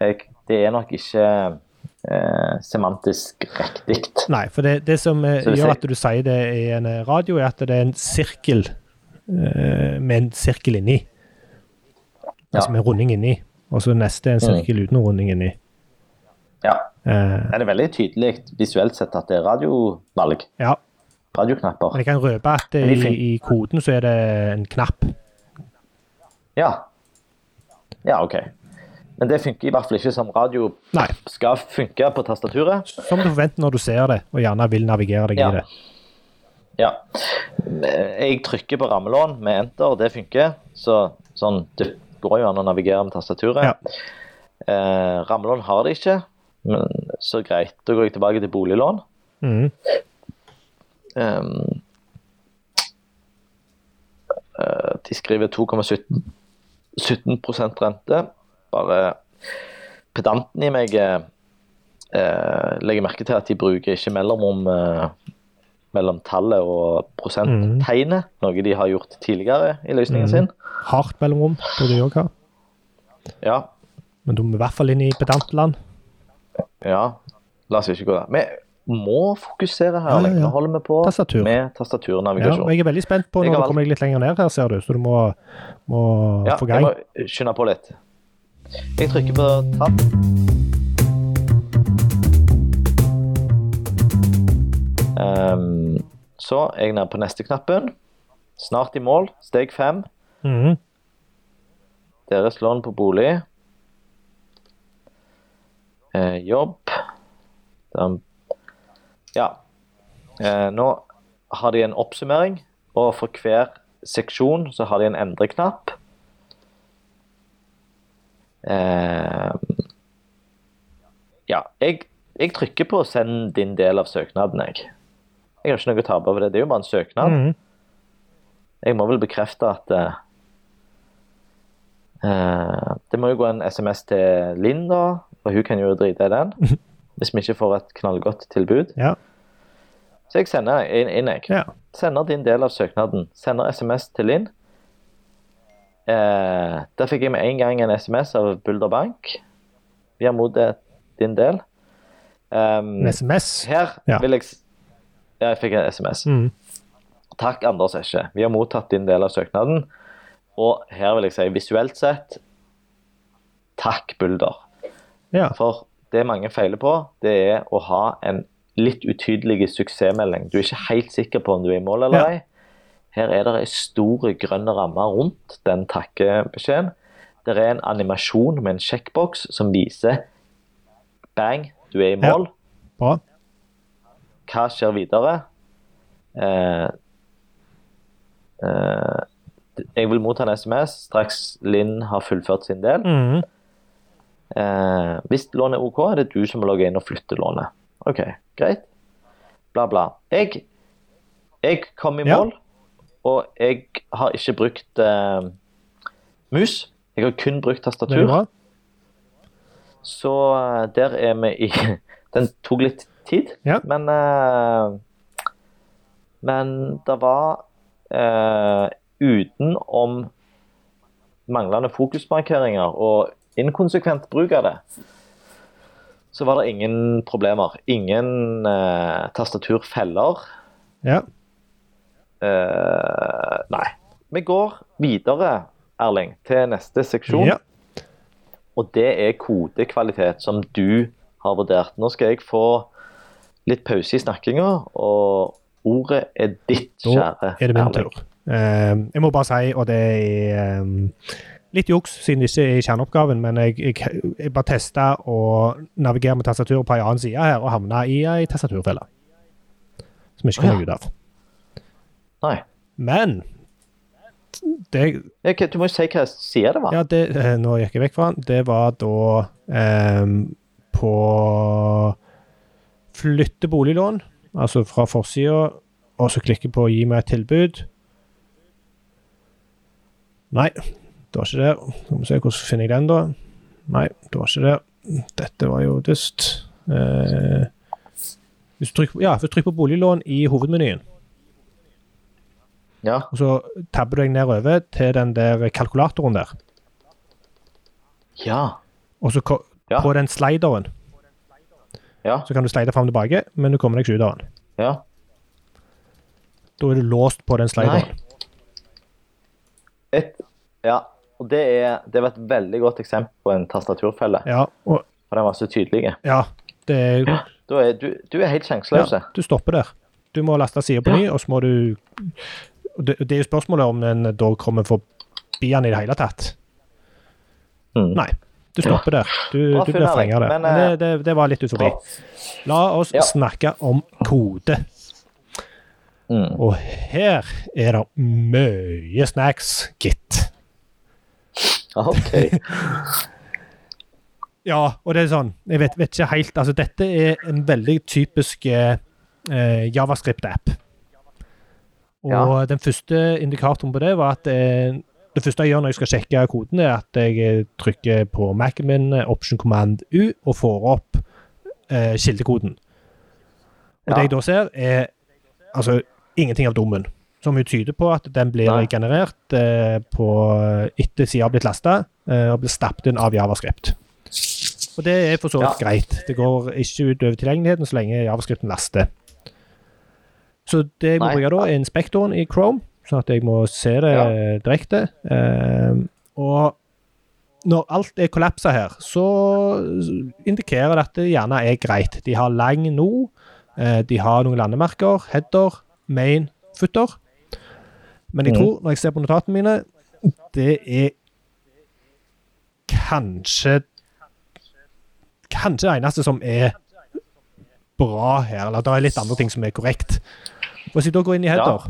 jeg, Det er nok ikke eh, semantisk riktig. Nei, for det, det som eh, Så det gjør sier- at du sier det i en eh, radio, er at det er en sirkel eh, med en sirkel inni. Ja. Mm. Altså med runding inni. Og så neste er en sirkel uten runding inni. ja. Eh, Er det veldig tydelig visuelt sett at det er radiovalg? ja. Radioknapper? Men jeg kan røpe at eh, Men de i, fin- i koden så er det en knapp. Ja. Ja, OK. Men det funker i hvert fall ikke som radio Nei. skal funke på tastaturet. Som du forventer når du ser det, og gjerne vil navigere deg Ja. i det. Ja. Jeg trykker på rammelån med enter, det funker. Så sånn Det går jo an å navigere med tastaturet. Ja. Eh, rammelån har det ikke, men så greit. Da går jeg tilbake til boliglån. Mhm. Ehm, eh, de skriver 2,17 17 rente. Bare pedanten i meg eh, eh, legger merke til at de bruker ikke mellomrom eh, mellom tallet og prosenttegnet, Mhm. noe de har gjort tidligere i løsningen sin. Hardt mellomrom burde jeg òg ha. Ja, Men du må i hvert fall inn i pedantland. ja. La oss ikke gå der. Vi må fokusere her. Ja, ja, ja. Nå holder vi på Tastatur. med Ja, og tastaturnavigasjon. jeg er veldig spent på Jeg når har du valgt- kommer deg litt lenger ned her, ser du. Så du må, må Ja, få jeg gang. må skynde på litt. Jeg trykker på tab. Ehm, så er jeg nede på neste knappen. Snart i mål. Steg fem. Mhm. Deres lån på bolig. Eh, jobb. Den. Ja. Eh, nå har de en oppsummering, og for hver seksjon så har de en endreknapp. Eh, ja, jeg, jeg trykker på 'send din del av søknaden', jeg. Jeg har ikke noe å tape over det. Det er jo bare en søknad. Mhm. Jeg må vel bekrefte at eh, eh, Det må jo gå en SMS til Linn, da, og hun kan jo drite i den. Hvis vi ikke får et knallgodt tilbud. Ja. Så jeg sender inn, inn jeg. ja. Sender din del av søknaden. Sender SMS til Linn. Eh, der fikk jeg med en gang en SMS av Bulder Bank. Vi har mottatt din del. Ehm, En SMS. her Ja. vil jeg s- Ja, jeg fikk en SMS. Mhm. Takk, Anders Esje. Vi har mottatt din del av søknaden. Og her vil jeg si visuelt sett takk, Bulder. Ja. For det mange feiler på, det er å ha en litt utydelig suksessmelding. Du er ikke helt sikker på om du er i mål eller Ja. ei. Her er det ei stor grønn ramme rundt den takkebeskjeden. Det er en animasjon med en sjekkboks som viser bang, du er i Ja. mål. Bra. Hva skjer videre? Eh, eh, jeg vil motta en SMS straks Linn har fullført sin del. Mhm. Eh, hvis lånet er OK, er det du som må logge inn og flytte lånet. OK, greit. Bla, bla. Jeg, jeg kom i Ja. mål, og jeg har ikke brukt eh, mus. Jeg har kun brukt Veldig tastatur. bra. Så eh, der er vi i Den tok litt tid, Ja. men eh, Men det var eh, utenom manglende fokusmarkeringer og inkonsekvent bruk av det, så var det ingen problemer. Ingen eh, tastaturfeller. Ja. Eh, nei. Vi går videre, Erling, til neste seksjon. ja. Og det er kodekvalitet som du har vurdert. Nå skal jeg få litt pause i snakkinga, og ordet er ditt, Da kjære. er det min Erling. tur. Eh, jeg må bare si, og det er eh, litt juks siden det ikke er i kjerneoppgaven, men jeg, jeg, jeg bare testa å navigere med tastaturet på en annen side her, og havna i ei tastaturfelle. Som jeg ikke Å, kom ja. ut av. Nei. Men det, Ja, ok, Du må jo si hva side det var. ja, det eh, Nå gikk jeg vekk fra den. Det var da eh, på flytte boliglån, altså fra forsida, og så klikke på gi meg et tilbud. Nei, det var ikke der. Skal vi se hvordan finner jeg den, da. Nei, det var ikke der. Dette var jo dust. Eh, hvis du trykker, på- ja, hvis du trykker på boliglån i hovedmenyen Ja. og så tabber du deg nedover til den der kalkulatoren der. Ja. Og så ko- Ja. på den slideren, Ja. så kan du slide fram og tilbake, men du kommer deg ikke ut av den. ja. Da er du låst på den slideren. Et, ja. Og det, er, det var et veldig godt eksempel på en tastaturfelle. Ja, og, For den var så tydelig. ja, det er Da er, du, du er helt sjanseløs. ja, Du stopper der. Du må laste sida på ny, og så må du og det, det er jo spørsmålet om en da kommer forbi den i det hele tatt. Mm. Nei. Du stopper der. Du, Bra du blir funnet, frenga der. men, Men det, det, det var litt ut forbi. Bra. La oss Ja. snakke om kode. Mm. Og her er det mye snacks, gitt. OK. Ja, og det er sånn Jeg vet, vet ikke helt Altså, dette er en veldig typisk eh, eh, JavaScript-app. Og Ja. den første indikatoren på det var at eh, det første jeg gjør når jeg skal sjekke koden, er at jeg eh, trykker på Mac-en min, eh, option command U, og får opp eh, kildekoden. Og Ja. det jeg da ser, er altså ingenting av dommen. Som jo tyder på at den blir Nei. generert eh, på, etter sida har blitt lasta, eh, og blir stappet inn av JavaScript. Og det er for så vidt Ja. greit. Det går ikke utover tilgjengeligheten så lenge javascripten laster. Så det jeg må Nei. bruke da, er inspektoren i Chrome, sånn at jeg må se det Ja. eh, direkte. Ehm, og når alt er kollapsa her, så indikerer det at det gjerne er greit. De har lang nå, eh, de har noen landemerker, header, main, footer. Men Mm. jeg tror, når jeg ser på notatene mine, det er kanskje Kanskje det eneste som er bra her. Eller det er litt andre ting som er korrekt. Hvis jeg da går inn i header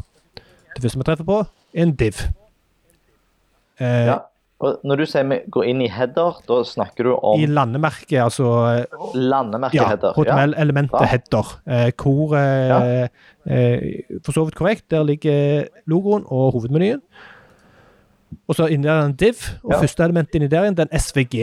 Det første vi treffer på, er en div. Eh, Ja. Og når du sier vi går inn i header, da snakker du I om landemerket, altså Ja, landemerkeheader. HTML-elementet Ja. header. Eh, hvor eh, eh, For så vidt korrekt. Der ligger logoen og hovedmenyen. Og så inni der er en div, og Ja. første element inni der igjen, det er en SVG.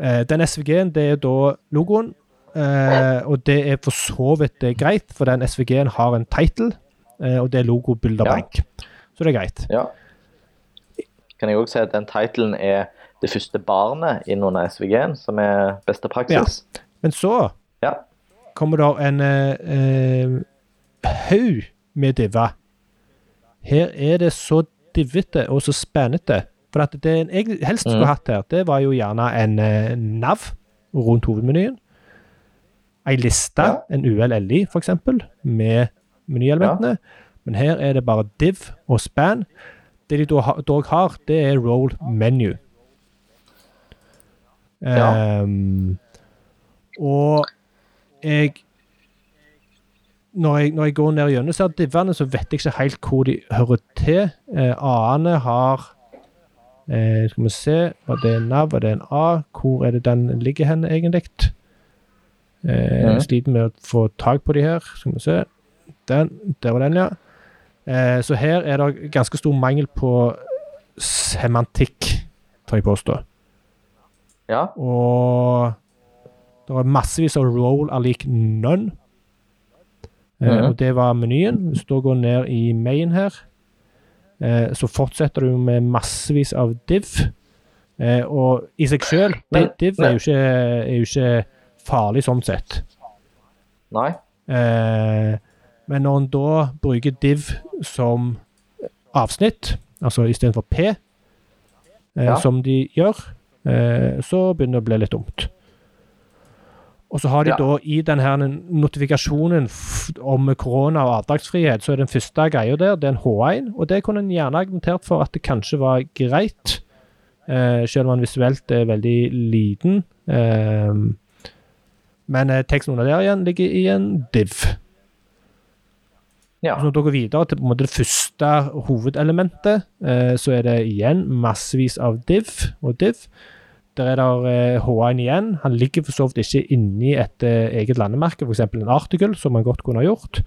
Eh, den SVG-en, det er da logoen. Eh, og det er for så vidt eh, greit, for den SVG-en har en title, eh, og det er logo, bilder, Ja. blank. Så det er greit. Ja. Kan jeg òg si at den titlen er det første barnet innunder SVG-en, som er beste praksis. Men så Ja. kommer det en eh, eh, haug med diver. Her er det så divete og så spennende. For at det en egentlig helst skulle Mm. hatt her, det var jo gjerne en eh, nav rundt hovedmenyen. Ei liste, Ja. en ULLI for eksempel, med menyelementene. Men her er det bare div og span. Det de dog ha- dog har, det er roll menu. Ja. Ehm, og jeg når jeg, når jeg går ned gjennom så er divene, så vet jeg ikke helt hvor de hører til. Eh, A-ene har eh, Skal vi se Var det en nav, var det en A? Hvor er det den ligger hen, egentlig? Eh, Mhm. Sliter med å få tak på de her. Skal vi se. Den, der var den, ja. Eh, så her er det ganske stor mangel på semantikk, tør jeg påstå. ja. Og det var massevis av roll er lik none. Eh, Mhm. Og det var menyen. Hvis du da går ned i main her, eh, så fortsetter du med massevis av div. Eh, og i seg sjøl, Men- div er jo, ikke, er jo ikke farlig sånn sett. Nei. Eh, men når en da bruker div som avsnitt, altså istedenfor P, eh, Ja. som de gjør, eh, så begynner det å bli litt dumt. Og så har de Ja. da i den her notifikasjonen f om korona og avdragsfrihet, så er den første greia der, det er en H1, og det kunne en gjerne argumentert for at det kanskje var greit, eh, selv om den visuelt er veldig liten. Eh, men eh, teksten under der igjen ligger i en div. Ja. Så når dere går videre til på en måte det første hovedelementet, eh, så er det igjen massevis av div og div. Der er der eh, H1 igjen. Han ligger for så vidt ikke inni et eh, eget landemerke, f.eks. en artikkel, som han godt kunne ha gjort.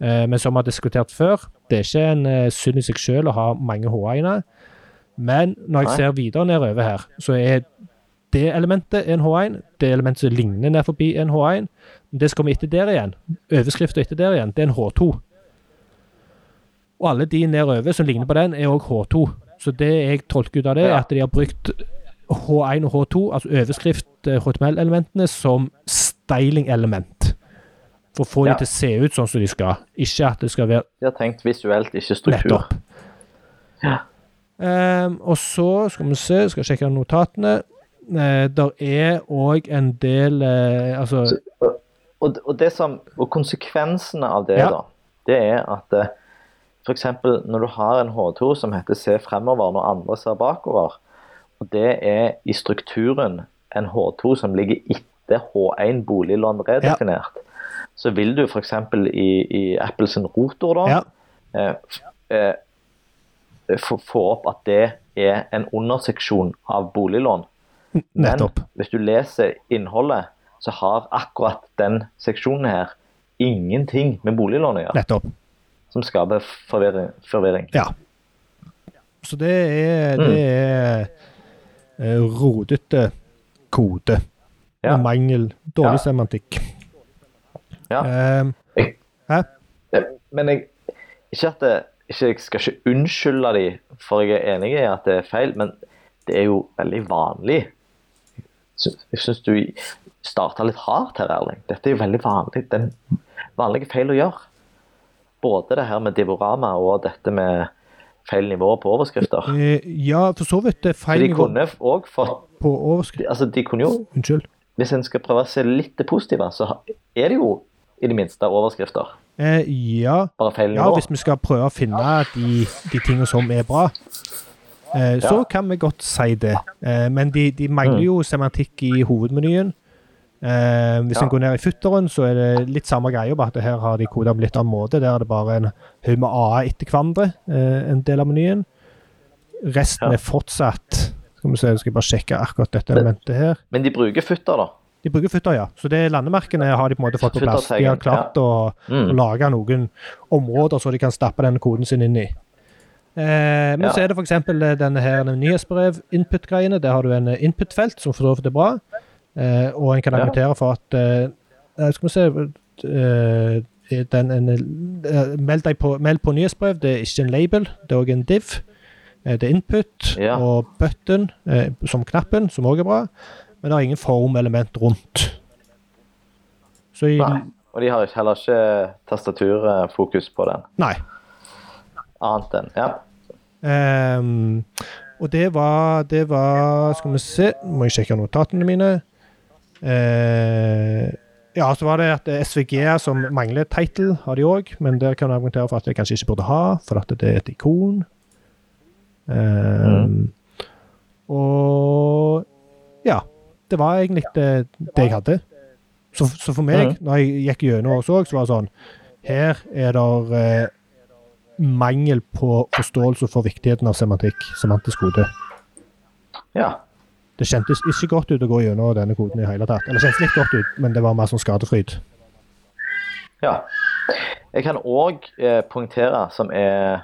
Eh, men som vi har diskutert før, det er ikke en eh, synd i seg selv å ha mange H1-er. Men når jeg Nei. ser videre nedover her, så er det elementet en H1, det elementet som ligner ned forbi en H1, det som kommer etter der igjen, overskriften etter der igjen, det er en H2. Og alle de nedover som ligner på den, er òg H2. Så det jeg tolker ut av det, er at de har brukt H1 og H2, altså overskrift, eh, HTML-elementene, som styling-element. For å få Ja. de til å se ut sånn som de skal. Ikke at det skal være De har tenkt visuelt, ikke struktur. Nettopp. Ehm, og så skal vi se, skal sjekke notatene. Uh, der er òg en del eh, Altså Så- og- Og, og, det som, og konsekvensene av det, Ja. da, det er at eh, for eksempel når du har en H2 som heter Se fremover når andre ser bakover, og det er i strukturen en H2 som ligger etter H1 boliglån redefinert, så vil du f.eks. I, i Apples rotor da, Ja. eh, f- eh, få, få opp at det er en underseksjon av boliglån. Nettopp. Men hvis du leser innholdet, så har akkurat den seksjonen her ingenting med boliglån å gjøre, Nettopp. som skaper forvirring. forvirring. Ja. Så det Mm. er, det er eh, rodete kode. Ja. Og mangel. Dårlig Ja. semantikk. Ja. Ehm, Men jeg, ikke at det, ikke, jeg skal ikke unnskylde de, for jeg er enig i at det er feil, men det er jo veldig vanlig. Sy- Jeg syns du starta litt hardt her, Erling. Dette er jo veldig vanlig. Den vanlige feil å gjøre. Både det her med divorama og dette med feil nivå på overskrifter. eh, ja, for så vidt. Det er Så feil de nivå kunne òg fått på overskrift. altså de kunne jo, Unnskyld. Hvis en skal prøve å se litt det positive, så er det jo i det minste overskrifter. Eh, ja. Bare feil ja, nivå. hvis vi skal prøve å finne de, de tingene som er bra, eh, så Ja. Mm. kan vi godt si det. Eh, men de, de mangler jo semantikk i hovedmenyen. Eh, hvis Ja. en går ned i futteren, så er det litt samme greia, bare at her har de koda på litt annen måte. Der er det bare en haug med A etter hverandre, eh, en del av menyen. Resten Ja. er fortsatt Skal vi se, jeg skal bare sjekke akkurat dette elementet her. Men de bruker futter, da. De bruker futter, ja. Så det landemerkene har de på en måte fått på plass. De har Futtertegn, klart å Mm. og lage noen områder så de kan stappe den koden sin inn i. Eh, men Ja. så er det f.eks. denne her den nyhetsbrev-input-greiene. Der har du en eh, input-felt, som for så vidt er bra. Eh, og en kan Ja. argumentere for at eh, eh, Skal vi se eh, er den, en, eh, meld, deg på, meld på nyhetsbrev. Det er ikke en label, det er òg en div. Eh, Det er input Ja. og button eh, som knappen, som òg er bra. Men det er ingen formelement rundt. Så i, Nei. Og de har ikke- heller ikke tastaturfokus på den. nei. Annet enn Ja. Ehm, og det var, det var Skal vi se, må jeg sjekke notatene mine. Eh, ja, så var det at eh, SVG som mangler title, har de òg. Men der kan jeg argumentere for at jeg kanskje ikke burde ha, for at det er et ikon. Ehm, Og ja. Det var egentlig det, det jeg hadde. Så, så for meg, når jeg gikk gjennom og så, så var det sånn Her er det eh, mangel på forståelse for viktigheten av semantikk, semantisk kode. ja. Det kjentes ikke godt ut å gå gjennom denne koden i hele tatt. Eller det kjentes litt godt ut, men det var mer sånn skadefryd. Ja. Jeg kan òg eh, poengtere, som er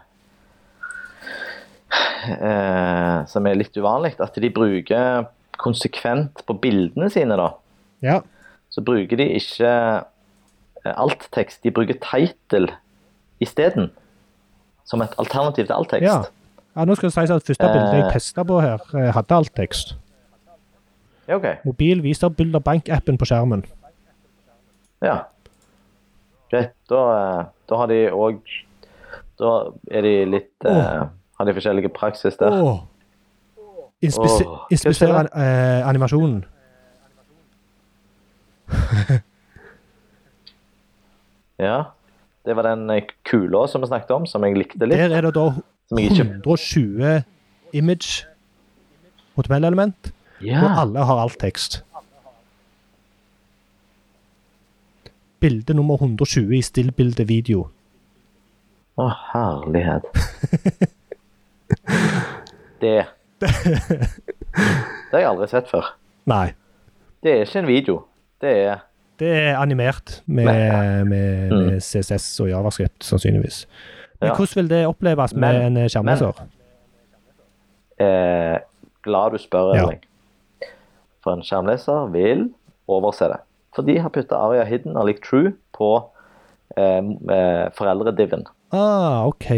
eh, Som er litt uvanlig, at de bruker konsekvent på bildene sine, da. Ja. Så bruker de ikke eh, alttekst, de bruker title isteden. Som et alternativ til alttekst. ja. Ja, nå skal det sies at første bildet jeg testa på her, eh, hadde alt tekst. Ja, OK. Mobil viser bilde av bankappen på skjermen. Ja. Greit. Da, eh, da har de òg Da er de litt eh, Har de forskjellige praksis der. Åh. Inspise- Åh. Inspisere an- eh, animasjonen. Ja. Det var den eh, kula som vi snakket om, som jeg likte litt. Der er det da Som jeg ikke 120 image HTML-element, og Ja. alle har alt tekst. Bilde nummer 120 i stillbilde video. Å, herlighet. Det Det har jeg aldri sett før. Nei. Det er ikke en video. Det er Det er animert med, Nei. med, Mm. med CSS og Javascript, sannsynligvis. Men Ja. hvordan vil det oppleves med Men- en skjermleser? eh, glad du spør, Ja. Erling. For en skjermleser vil overse det. For de har putta Aria Hidden og Like True på eh, m- eh, foreldrediven. Ah, OK.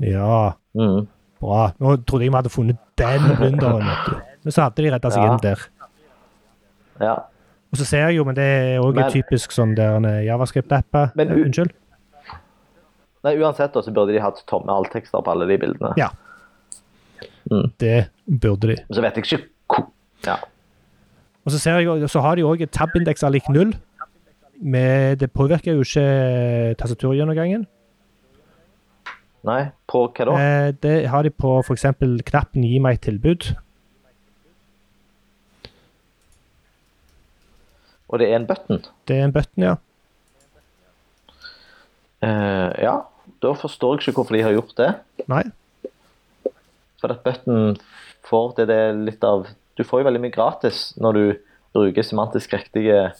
Ja, Mm. bra. Nå trodde jeg vi hadde funnet den blunderen. vet du. Men så hadde de redda seg Ja. inn der. Ja. Og så ser jeg jo, men det er òg Men- typisk sånn der en Javascript-apper. Men u- Unnskyld? Nei, uansett da, så burde de hatt tomme alltekster på alle de bildene. Ja. Mm. Det burde de. Men Så vet jeg ikke hvor ja. Og så, ser jeg, jo- så har de òg tab-indeks er lik null. Men det påvirker jo ikke tastaturgjennomgangen. Nei, på hva da? Eh, det har de på f.eks. knappen 'gi meg et tilbud'. Og det er en button. Det er en button, ja. Eh, ja, da forstår jeg ikke hvorfor de har gjort det. Nei. For at button får til det litt av Du får jo veldig mye gratis når du bruker semantisk riktige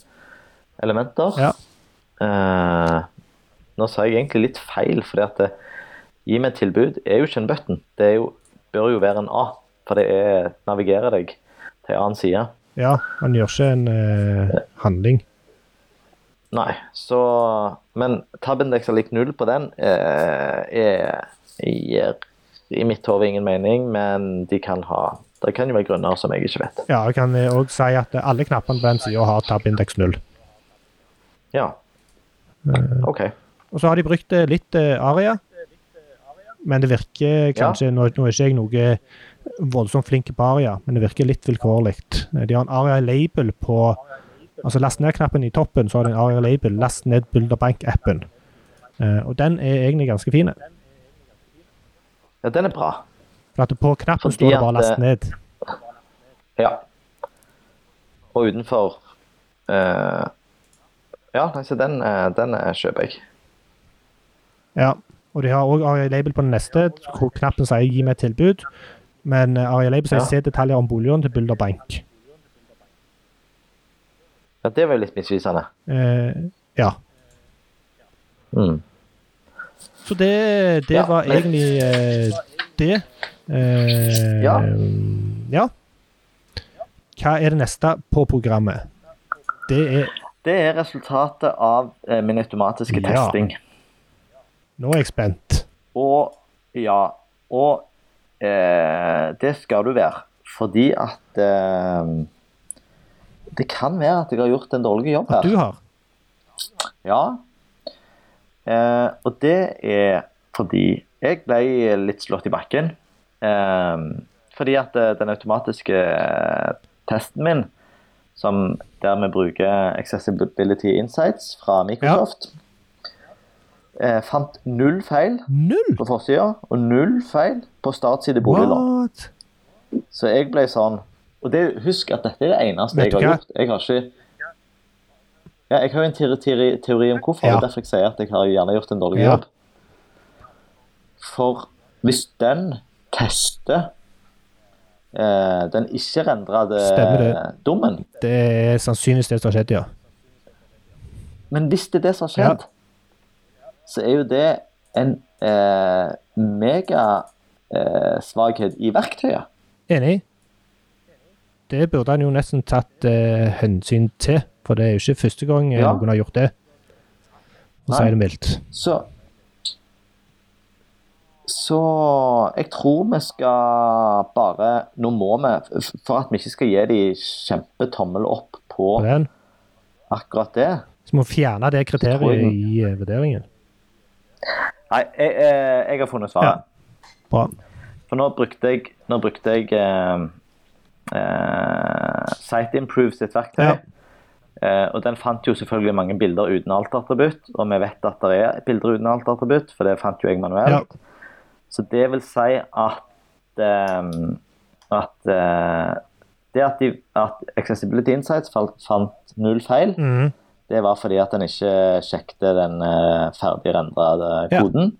elementer. Ja. Eh, nå sa jeg egentlig litt feil, fordi at det, gi meg et tilbud er jo ikke en button. Det er jo, bør jo være en A, for det er navigere deg til en annen side. ja. Han gjør ikke en eh, handling. Nei, så Men tabindeks er lik null på den eh, er, gir i mitt hode ingen mening, men de kan ha Det kan jo være grunner som jeg ikke vet. Ja, jeg kan òg si at alle knappene på den sida har tab-indeks null. Ja. OK. Og så har de brukt eh, litt eh, aria. Men det virker kanskje nå, nå er ikke jeg noe voldsomt flink på aria, men det virker litt vilkårlig. Eh, De har en aria-label på Altså last ned-knappen i toppen, så har de en aria-label. Last ned Bulderbank-appen. Eh, og den er egentlig ganske fin. Ja, den er bra. For at på knappen Fordi står det at, bare 'last eh, ned'. Ja. Og utenfor eh, Ja, nei, så den, eh, den eh, kjøper jeg. Ja. Og de har òg en label på den neste, hvor knappen sier 'gi meg et tilbud'. Men eh, Aria Label sier Ja. 'se detaljer om boliglån til Bulder Bank'. Ja, Det var jo litt misvisende. Eh, ja. Mm. Så det, det Ja, var men- egentlig eh, det. Eh, Ja. ja. Hva er det neste på programmet? Det er Det er resultatet av eh, min automatiske Ja. testing. Nå er jeg spent. Og ja, og eh, det skal du være. Fordi at eh, Det kan være at jeg har gjort en dårlig jobb At her. du har. Ja. Eh, og det er fordi jeg ble litt slått i bakken. Eh, fordi at eh, den automatiske eh, testen min, som der vi bruker Accessibility Insights fra Microsoft, eh, fant null feil Null! på forsida og null feil på startside boliglån. What? Så jeg ble sånn Og det, husk at dette er det eneste Vet jeg du har hva? gjort. Jeg har ikke ja, Jeg har jo en teori, teori, teori om hvorfor, Ja. og derfor jeg sier at jeg har gjerne gjort en dårlig Ja. jobb. For hvis den tester eh, den ikke-rendrede Stemmer det. dommen Det er sannsynligvis det som har skjedd, ja. Men hvis det er det som har skjedd, så er jo det en eh, megasvakhet eh, svakhet i verktøyet. Enig. Det burde han jo nesten tatt eh, hensyn til, for det er jo ikke første gang eh, Ja. noen har gjort det. For å Nei. si det mildt. Så Så jeg tror vi skal bare Nå må vi, f- for at vi ikke skal gi de kjempetommel opp på På den. akkurat det Så må vi fjerne det tror kriteriet jeg- i eh, vurderingen. Nei, jeg, jeg, jeg har funnet svaret. Bra. For nå brukte jeg, nå brukte jeg eh, eh, SiteImprove sitt verktøy. Ja. Eh, og den fant jo selvfølgelig mange bilder uten alt-attributt. Og vi vet at det er bilder uten alt-attributt, for det fant jo jeg Ja. manuelt. Så det vil si at eh, at eh, det at, de, at Accessibility Insights falt, fant null feil, Mhm. det var fordi at en ikke sjekket den eh, ferdig rendrede Ja. koden.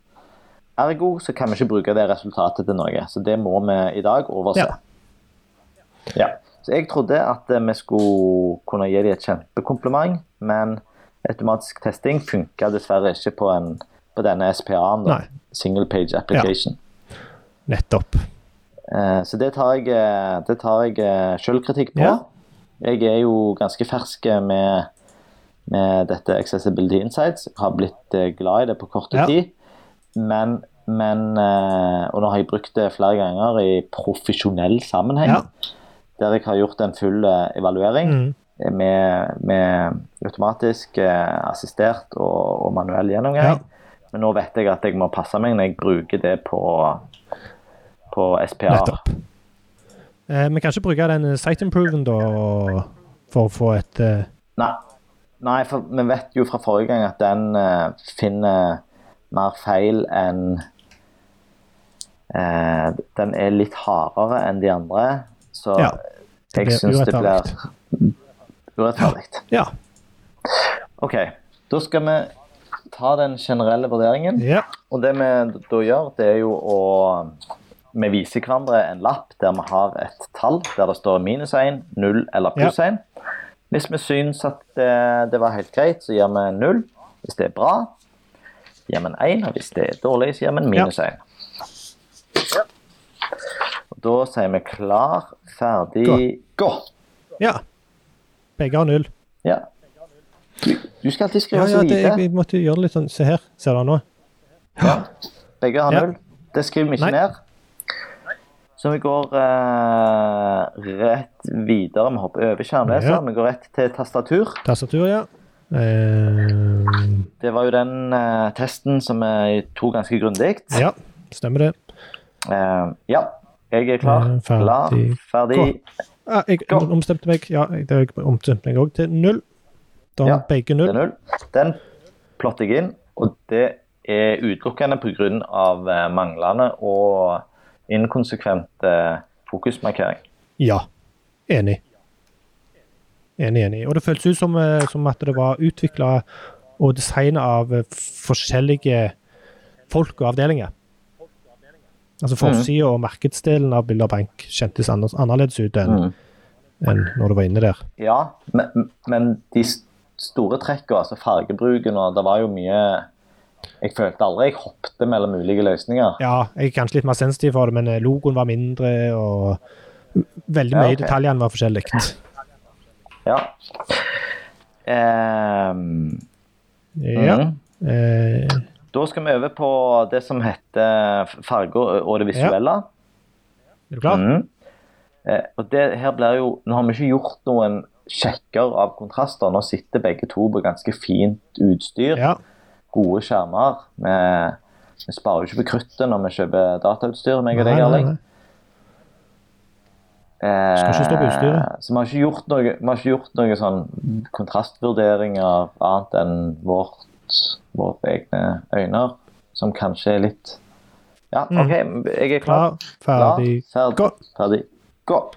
Ergo så kan vi ikke bruke det resultatet til noe, så det må vi i dag overse. Ja. Så jeg trodde at eh, vi skulle kunne gi dem et kjempekompliment, men automatisk testing funka dessverre ikke på, en, på denne SPA-en, da. Nei. Single page application. Nettopp. Eh, så det tar jeg, eh, det tar jeg eh, selvkritikk på. Ja. Jeg er jo ganske fersk eh, med, med dette Accessibility Insights. Jeg har blitt eh, glad i det på kort Ja. tid. Men, men eh, Og nå har jeg brukt det flere ganger i profesjonell sammenheng, Ja. der jeg har gjort en full eh, evaluering Mhm. eh, med, med automatisk eh, assistert og, og manuell Ja. gjennomgang. Men nå vet jeg at jeg må passe meg når jeg bruker det på, på SPA. Nettopp. Eh, vi kan ikke bruke den eh, site improven da for å få et eh, Nei. Nei, for vi vet jo fra forrige gang at den eh, finner mer feil enn eh, Den er litt hardere enn de andre, så Ja, jeg blir syns det blir urettferdig. urettferdig. Ja. OK. Da skal vi ta den generelle vurderingen. ja. Og det vi da gjør, det er jo å Vi viser hverandre en lapp der vi har et tall der det står minus 1, 0 eller pluss 1. Hvis vi syns at det, det var helt greit, så gir vi 0. Hvis det er bra, gir vi en 1. Og hvis det er dårlig, så gir vi en minus 1. Og da sier vi klar, ferdig, gå. ja. Begge har null. Ja. Du, du skal alltid Ja, skrive ja, så det, lite. jeg, jeg måtte gjøre det litt sånn Se her, ser du nå? Begge har Ja. null. Det skriver vi ikke Nei. ned. Så vi går eh, rett videre. Vi hopper over skjermleser. Ja. Vi går rett til tastatur. Tastatur, ja. Eh, Det var jo den eh, testen som vi tok ganske grundig. ja, stemmer det. Eh, ja. Jeg er klar. Eh, ferdig. Klar, ferdig. Ah, jeg Gå. omstemte meg ja, jeg, det- jeg omstemte meg òg til null. Da har Ja, begge Det null. er null. Den plotter jeg inn, og det er utelukkende pga. eh, manglende og inkonsekvent eh, fokusmarkering. Ja. Enig. Enig, enig. Og det føltes ut som, eh, som at det var utvikla og designa av eh, forskjellige folk og avdelinger. Mm. Altså forsida og markedsdelen av Bilder Bank kjentes anner- annerledes ut enn Mhm. enn når du var inne der. Ja, men, men de s- store trekkene, altså fargebruken og Det var jo mye Jeg følte aldri jeg hoppet mellom ulike løsninger. Ja, jeg er kanskje litt mer sensitiv for det, men eh, logoen var mindre, og veldig Ja, mye i ok. detaljene var forskjellig. Ja. Ehm, Ja. mhm. Eh, Da skal vi over på det som heter farger og det visuelle. er du klar? Mhm. Eh, og det her blir jo, Nå har vi ikke gjort noen sjekker av kontraster. Nå sitter begge to på ganske fint utstyr. Ja. gode skjermer. Vi, vi sparer jo ikke på kruttet når vi kjøper datautstyr. meg Nei, og deg, nei, Erling. nei. Skal ikke stå på utstyret. Eh, Så vi har ikke gjort noe, vi har ikke gjort noe sånn kontrastvurderinger annet enn vårt, vårt egne øyne, som kanskje er litt Ja, Mm. OK, jeg er klar. Klar, ferdig, Klar, ferdig, gå. ferdig. Gå.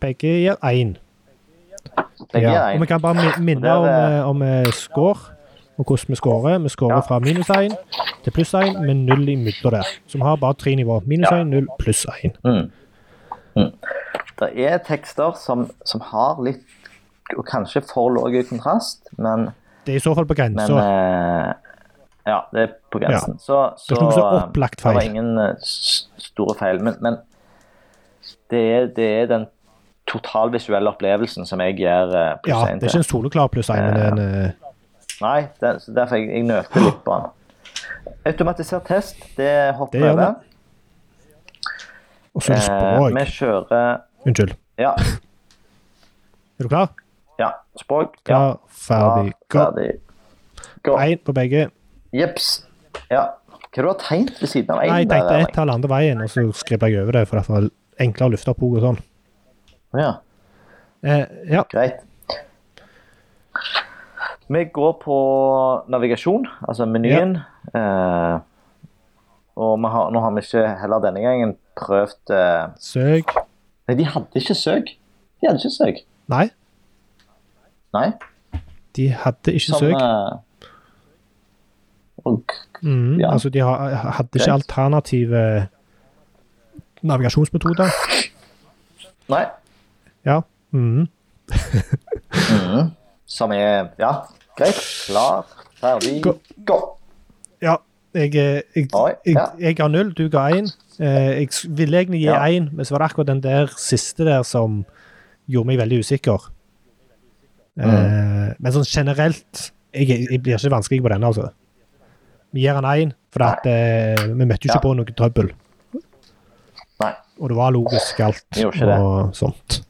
Begge gir én. Legg Ja. i Og vi en. kan bare mi- minne Der, om, eh, eh, om eh, score, og hvordan vi scorer. Vi scorer Ja. fra minus én til pluss én, med null i midten der. Så vi har bare tre nivå. Minus én, null, pluss én. Mm. Mm. Det er tekster som, som har litt og kanskje for lav kontrast, men Det er i så fall på Men grensa. eh, Ja, det er på grensen. Så, så Det er eh, ikke noe så opplagt feil. Det var ingen eh, s- store feil. Men, men det, er, det er den totalvisuelle opplevelsen som jeg gir eh, pluss Ja, én det er ikke en soleklar pluss én, men det er en eh, Nei, det, så derfor jeg, jeg nølte litt på den. Automatisert test, det Det hopper gjør over. Og så er det Eh, vi språk. kjører Unnskyld. Ja, Er du klar? ja språk. Ja, Klar, ferdig, gå. ferdig. Gå. Én på begge. Jeps. Ja. Hva du har du tegnet ved siden av én? Nei, jeg tenkte ett tall andre veien, og så skribla jeg over det, for det var enklere å løfte opp hodet og sånn. Ja. Eh, ja. Greit. Vi går på navigasjon, altså menyen. Eh, og vi har, nå har vi ikke heller denne gangen prøvd eh, Søk. Nei, de hadde ikke søk. De hadde ikke søk. Nei, Nei. de hadde ikke Som, søk. eh, og, Mhm, ja. Altså, de har, hadde ikke Greit. alternative navigasjonsmetoder. nei. Ja. Mhm. Som er Ja, greit. Klar, ferdig, gå. Gå. Ja. Jeg, eh, jeg, Oi, jeg, ja. jeg ga null, du ga én. Eh, Jeg s- ville egentlig gi Ja. én, men så var det akkurat den der siste der som gjorde meg veldig usikker. Mm. Eh, Men sånn generelt jeg, jeg blir ikke vanskelig på denne, altså. Vi gir han én, for at, eh, vi møtte jo ikke Ja. på noe trøbbel. Nei. Og det var logisk alt Vi gjorde ikke det. og sånt.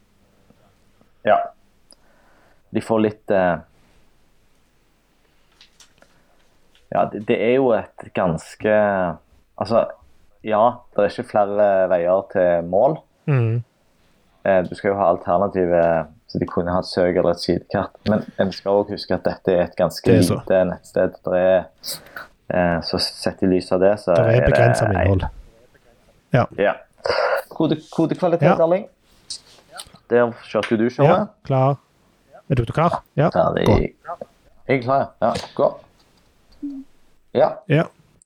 Ja. De får litt eh, Ja, det, det er jo et ganske Altså, ja, det er ikke flere veier til mål. Mm. Eh, du skal jo ha alternative så de kunne hatt søk eller et sidekart. Men en skal også huske at dette er et ganske Det er så. lite nettsted. Det er, eh, så sett i lys av det, så Det er begrensa med innhold. Ja. Kode, kodekvalitet, Ja. Erling. Der kjørte jo du Ja, showet. klar. Er du klar? Ja. Gå. Ferdig. Jeg er klar. Ja, gå. Ja. ja.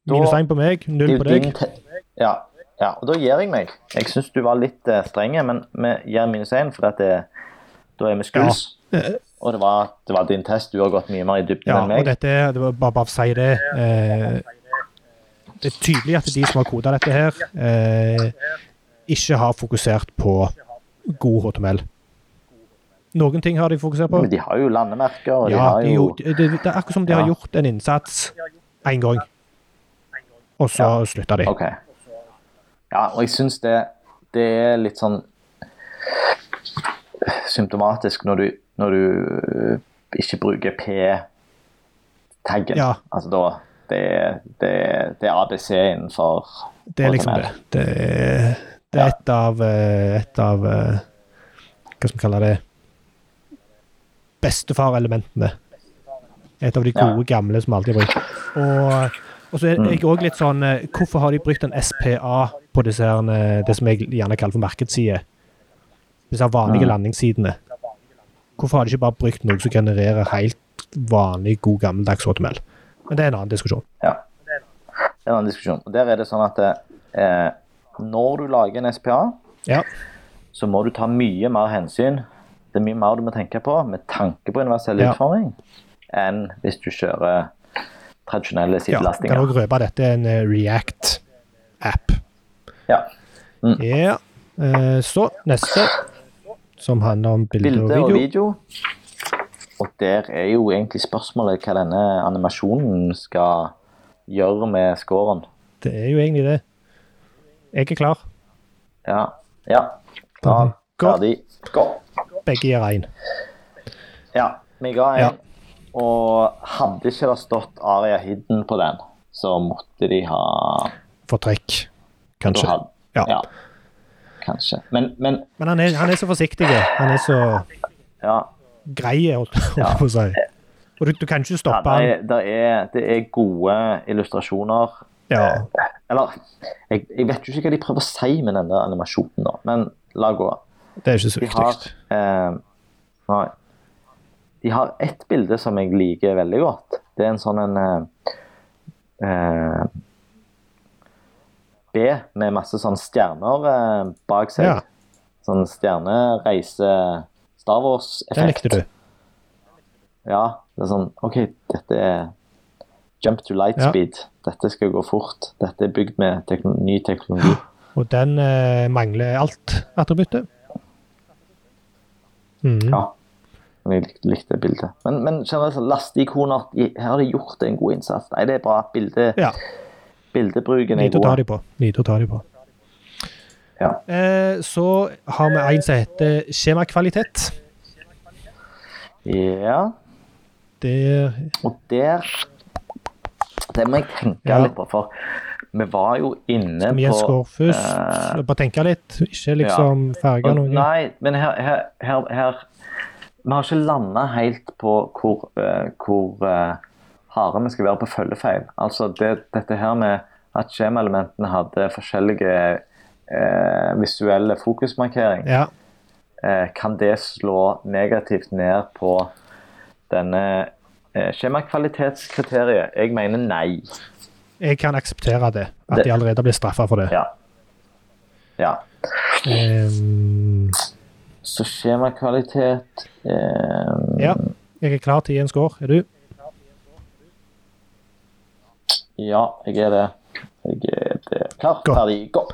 Minus én på meg, det er null jo på deg. din te- ja. ja, og da gir jeg meg. Jeg syns du var litt eh, strenge, men vi gir minus én, for at det, da er vi skuls. Eh, Og det var, det var din test. Du har gått mye mer i dybden Ja, enn og meg. dette er- det var bare, bare for å si det. Eh, det er tydelig at de som har koda dette her, eh, ikke har fokusert på god HTML. Noen ting har de fokusert på. Men de har jo landemerker, Ja, og de de har jo gjorde, det, det er akkurat som de har Ja. gjort en innsats én gang, og så slutta de. OK. Ja, og jeg syns det, det er litt sånn symptomatisk når du, når du øh, ikke bruker P-taggen. Ja. Altså da det, er- det, er- det er ABC innenfor Det er liksom det. Det er, det er et av eh, Et av eh, Hva skal vi kalle det Bestefarelementene. Et av de Ja. gode, gamle som alltid er brukt. Og, Og så er jeg òg litt sånn eh, Hvorfor har de brukt en SPA på disse her, eh, det som jeg gjerne kaller for markedssider? Disse her vanlige landingssidene. Hvorfor har de ikke bare brukt noe som genererer helt vanlig, god, gammeldags HTML? Men det er en annen diskusjon. Ja. Det er en annen diskusjon. Og Der er det sånn at eh, når du lager en SPA, Ja. så må du ta mye mer hensyn. Det er mye mer du må tenke på med tanke på universell Ja. utforming enn hvis du kjører tradisjonelle ja kan sidelastinger. òg røpe at dette er en eh, React-app. Ja. Ja. Eh, så neste, som handler om bilde og Bilde og video. video. Og der er jo egentlig spørsmålet hva denne animasjonen skal gjøre med scoren. Det er jo egentlig det. Jeg er klar. Ja. ja. Klar, Gå. ferdig, gå. Begge gir én. Ja, vi ga en. Ja. Og hadde ikke det stått Aria Hidden på den, så måtte de ha For trekk, da kanskje. had- Ja. ja. Kanskje. Men, men Men han er, han er så forsiktig. Han er så ja. grei, holdt holdt jeg på å si. Og du, du kan ikke ja stoppe det, han. er, det, er, det er gode illustrasjoner. Ja. Eller jeg, jeg vet jo ikke hva de prøver å si med denne animasjonen, da. Men la gå. Det er ikke så De har viktig. eh, Nei. De har ett bilde som jeg liker veldig godt. Det er en sånn en eh, eh, B med masse sånne stjerner eh, bak seg. Ja. Sånn stjernereise Star Wars-effekt. Den likte du. Ja. Det er sånn OK, dette er jump to light Ja. speed. Dette skal gå fort. Dette er bygd med tekno ny teknologi. Og den eh, mangler alt attributtet. Mhm. Ja. Men Jeg likte, likte bildet. Men, men generelt, så lasteikoner de- Her har de gjort en god innsats. Nei, det er bra. Bilde, Ja. Bildebruken er Lite å ta god. de på. Lite å ta de på. Ja. Eh, så har vi en som heter skjemakvalitet. ja. Det Og der Det må jeg tenke Ja. litt på, for vi var jo inne Vi en på eh, skår først. Bare tenke litt. Ikke liksom farge og, noe. Nei, men her, her, her, her Vi har ikke landa helt på hvor, eh, hvor eh, harde vi skal være på følgefeil. Altså det, dette her med at skjemaelementene hadde forskjellige eh, visuelle fokusmarkering. Ja. eh, kan det slå negativt ned på denne eh, skjemakvalitetskriteriet? Jeg mener nei. Jeg kan akseptere det. At Det- de allerede blir straffa for det. Ja. ja. Ehm, Så skjemakvalitet eh, ja. Jeg er klar til å gi en score. Er du? Ja, jeg er det. Jeg er det. Klar, Gå. ferdig, gå.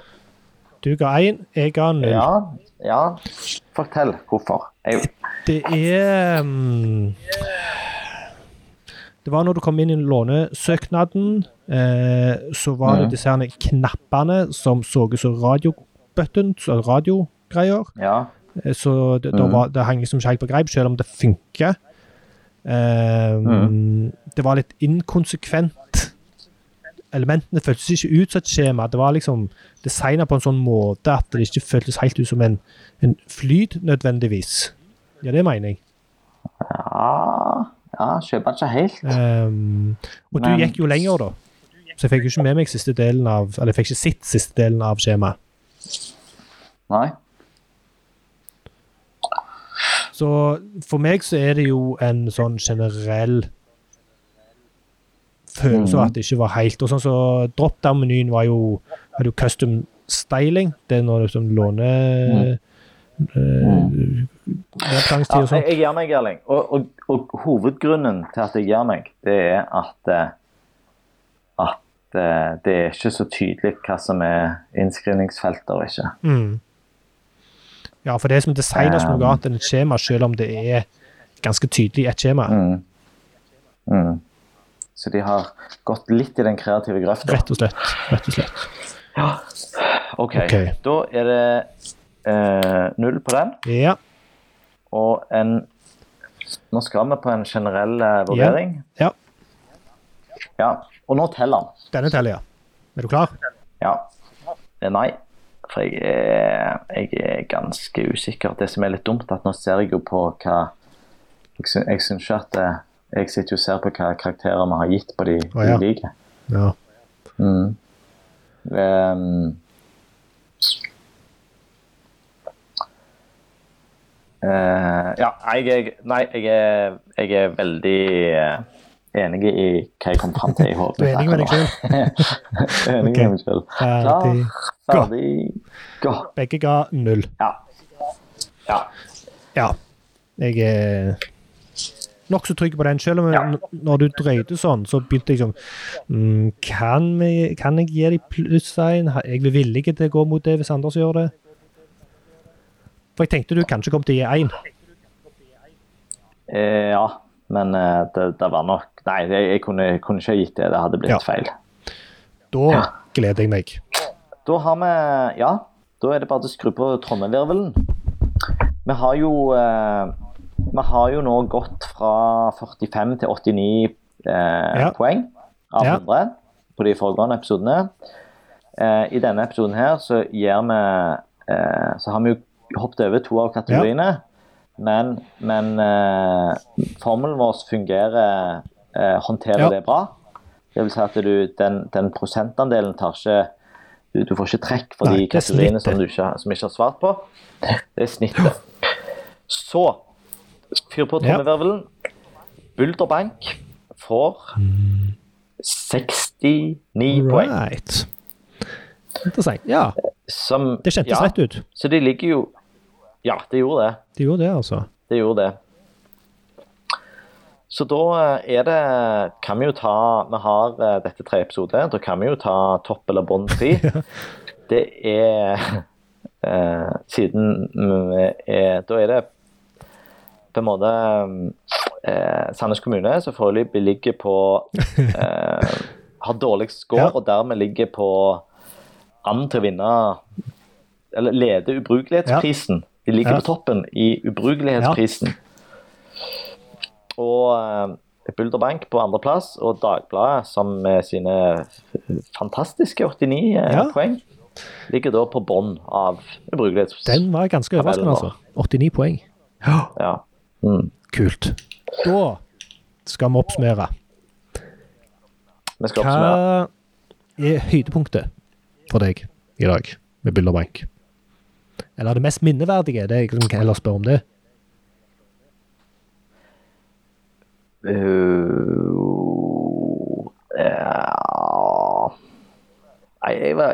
Du ga én, jeg ga null. Ja, ja. Fortell hvorfor. Jeg, Det er mm, Det var når du kom inn i lånesøknaden, eh, så var det disse her knappene som så ut som radiobutton, så radiogreier. ja. Eh, Så det, da var, det hang liksom ikke helt på greip, selv om det funker. Ehm, Det var litt inkonsekvent. Elementene føltes ikke ut som et skjema. Det var liksom designa på en sånn måte at det ikke føltes helt ut som en, en flyd, nødvendigvis. Ja, det mener jeg. ja. Ja, kjøper ikke helt. Ehm, og du Men- gikk jo lenger, da. Så jeg fikk jo ikke med meg siste delen av Eller jeg fikk ikke sett siste delen av skjemaet. Nei. Så for meg så er det jo en sånn generell følelse av at det ikke var helt Og sånn så drop down-menyen var jo hadde jo custom styling. Det er når du sånn låner nedgangstid Ja, og jeg, sånn. jeg gir meg, Erling. Og, og, og hovedgrunnen til at jeg gir meg, det er at eh, at eh, det er ikke så tydelig hva som er innskrivningsfelter og ikke. Mm. Ja, for det er som designet som noe Um. annet enn et skjema, selv om det er ganske tydelig et skjema. Mm. Mm. Så de har gått litt i den kreative grøfta. Rett og slett. Rett og slett. Ok, Ok. da er det eh, null på den, Ja. og en Nå skal vi på en generell eh, vurdering. ja. Ja. Og nå teller han. Denne teller, ja. Er du klar? Ja. Eh, Nei. For jeg er, jeg er ganske usikker. Det som er litt dumt, at nå ser jeg jo på hva Jeg, sy jeg syns ikke at eh, Jeg sitter jo og ser på hva karakterer vi har gitt på de Å, ja. ulike. Ja. Mm. Ehm. Eh, ja, jeg, jeg, nei, jeg, er, jeg er veldig eh, enig i hva jeg kom fram til i hodet. Du er enig med deg sjøl? Enig Ok. med meg selv. Klar, Ferdig. Gå. ferdig, gå. Begge ga null. Ja. ja. Ja. Jeg er nokså trygg på den, selv om jeg- Ja. n- når du drøyde sånn, så begynte jeg sånn mm, kan, vi, kan jeg gi dem plusstegn? Ha- Er jeg villig til å gå mot det hvis Anders gjør det? For jeg tenkte du kanskje kom til å gi én. Eh, ja. Men eh, det, det var nok Nei, jeg, jeg kunne, kunne ikke ha gitt det. Det hadde blitt Ja. feil. Da gleder jeg meg. Da har vi Ja, da er det bare til å skru på trommevirvelen. Vi har jo eh, Vi har jo nå gått fra 45 til 89 eh, Ja. poeng av Ja. 100 på de foregående episodene. Eh, I denne episoden her så gir vi eh, Så har vi jo hoppet over to av kategoriene. Men, men eh, formelen vår fungerer eh, Håndterer Ja. det bra. Det vil si at du, den, den prosentandelen tar ikke du, du får ikke trekk for Nei, de det er kategoriene som snittet. du ikke, som ikke har svart på. Det er snittet. Så fyr på Ja. trommevirvelen. Bulderbank får 69 poeng. Right. Interessant. Ja, Som, det kjentes ja, rett ut. Så de ligger jo Ja, det gjorde det. Det gjorde det, altså. Det gjorde det. Så da eh, er det Kan vi jo ta Vi har eh, dette tre episoder. Da kan vi jo ta topp eller bånd tre. Det er eh, Siden vi er Da er det på en måte eh, Sandnes kommune som foreløpig ligger på eh, Har dårligst score Ja. og dermed ligger på an til å vinne Eller lede ubrukelighetsprisen. De ligger Ja. på toppen i ubrukelighetsprisen. Og eh, Bulderbank på andreplass og Dagbladet, som med sine fantastiske 89 eh, Ja. poeng, ligger da på bånn av ubrukelighetsprisen. Den var ganske overraskende, altså. 89 poeng. Ja. Mm. Kult. Da skal vi oppsummere. Vi skal oppsummere. Hva er høydepunktet for deg i dag med Bulderbank? Eller det mest minneverdige? Det er jeg som kan heller spørre om det. Eh, Uh, ja. Nei, jeg var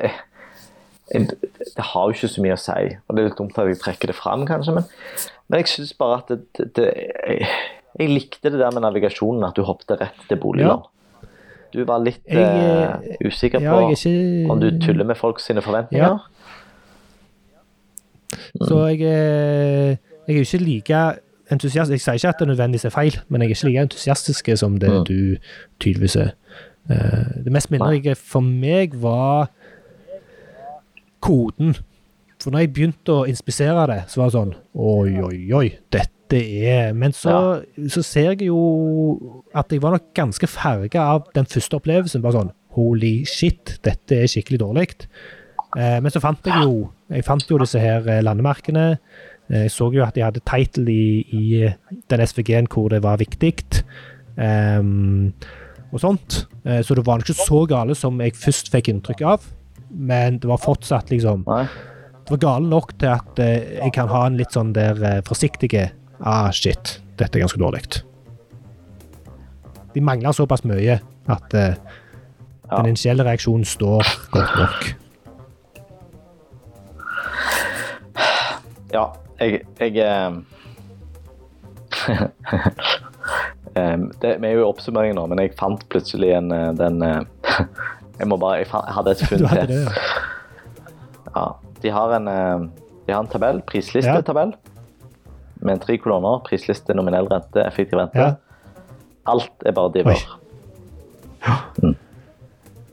jeg, Det har jo ikke så mye å si. Og det er litt dumt at jeg trekker det fram, kanskje, men, men jeg syns bare at det, det, det jeg, jeg likte det der med navigasjonen, at du hoppet rett til boliglån. Du var litt Jeg, eh, usikker Ja, på jeg er ikke om du tuller med folk sine Ja. forventninger. Så jeg, er- jeg er jo ikke like entusiastisk Jeg sier ikke at det nødvendigvis er feil, men jeg er ikke like entusiastisk som det Mm. du tydeligvis er. Eh, Det mest minnerike for meg var koden. For når jeg begynte å inspisere det, så var det sånn Oi, oi, oi, dette er Men så, så ser jeg jo at jeg var nok ganske farga av den første opplevelsen. Bare sånn Holy shit, dette er skikkelig dårlig. Eh, men så fant jeg jo jeg fant jo disse her eh, landemerkene. Eh, Jeg så jo at de hadde title i, i den SVG-en hvor det var viktig. ehm, og sånt. Eh, så det var ikke så gale som jeg først fikk inntrykk av. Men det var fortsatt liksom Nei? det var gale nok til at eh, jeg kan ha en litt sånn der eh, forsiktige Ah, shit, dette er ganske dårlig. De mangler såpass mye at eh, Ja. den initielle reaksjonen står godt nok. Ja, jeg, jeg ehm, ehm, det, Vi er jo i oppsummeringen nå, men jeg fant plutselig en eh, den eh, Jeg må bare, jeg, fa- jeg hadde et Du funn hadde til. det, ja. Ja, de har en, eh, de har en tabell, prislistetabell, med tre kolonner. Prisliste, nominell rente, effektiv rente. Ja. Alt er bare diver.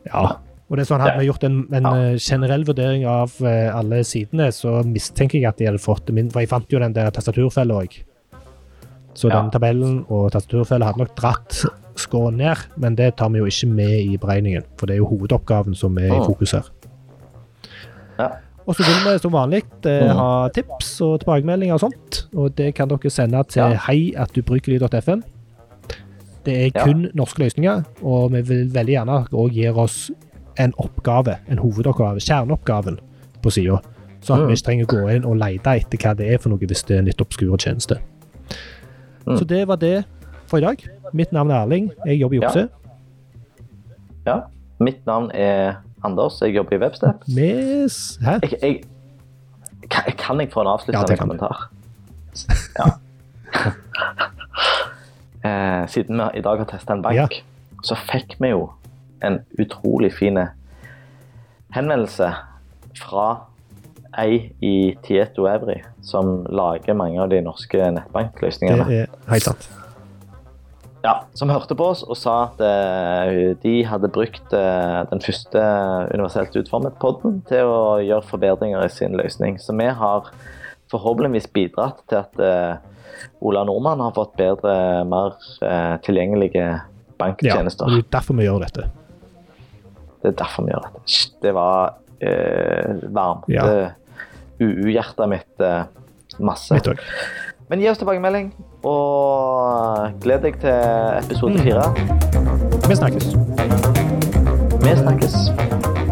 ja. Og det er sånn Hadde vi gjort en, en eh, generell vurdering av eh, alle sidene, så mistenker jeg at de hadde fått det min, For jeg fant jo den der tastaturfella òg. Så Ja. den tabellen og tastaturfella hadde nok dratt skåren ned, men det tar vi jo ikke med i beregningen, for det er jo hovedoppgaven som er i Mm. fokus her. Ja. Og så vil vi som vanlig eh, ha tips og tilbakemeldinger og sånt, og det kan dere sende til Ja. heiatdubrukelig.fm. Det er Ja. kun norske løsninger, og vi vil veldig gjerne at dere også gir oss en oppgave, en hovedoppgave, kjerneoppgaven på sida. Så Mm. at vi ikke trenger å gå inn og lete etter hva det er for noe hvis det er en litt obskur tjeneste. Mm. Så det var det for i dag. Mitt navn er Erling. Jeg jobber i Ja. Opse. Ja. Mitt navn er Anders. Jeg jobber i Webstep. Mes Hæ? Jeg, jeg, kan, kan jeg få en Ja, avsluttende det kan du. kommentar? Ja. eh, siden vi i dag har testa en bank, Ja. så fikk vi jo en utrolig fin henvendelse fra ei i Tieto Evry, som lager mange av de norske Det nettbankløsningene. er helt sant. Ja, som hørte på oss og sa at eh, de hadde brukt eh, den første universelt utformet podden til å gjøre forbedringer i sin løsning. Så vi har forhåpentligvis bidratt til at eh, Ola Nordmann har fått bedre, mer eh, tilgjengelige Ja, og banktjenester. det er derfor vi gjør dette. Det er derfor vi gjør dette. Shit, Det var eh, varmte Ja. UU-hjertet mitt eh, masse. Mitt òg. Men gi oss tilbakemelding, og gled deg til episode fire. Vi snakkes. Vi snakkes.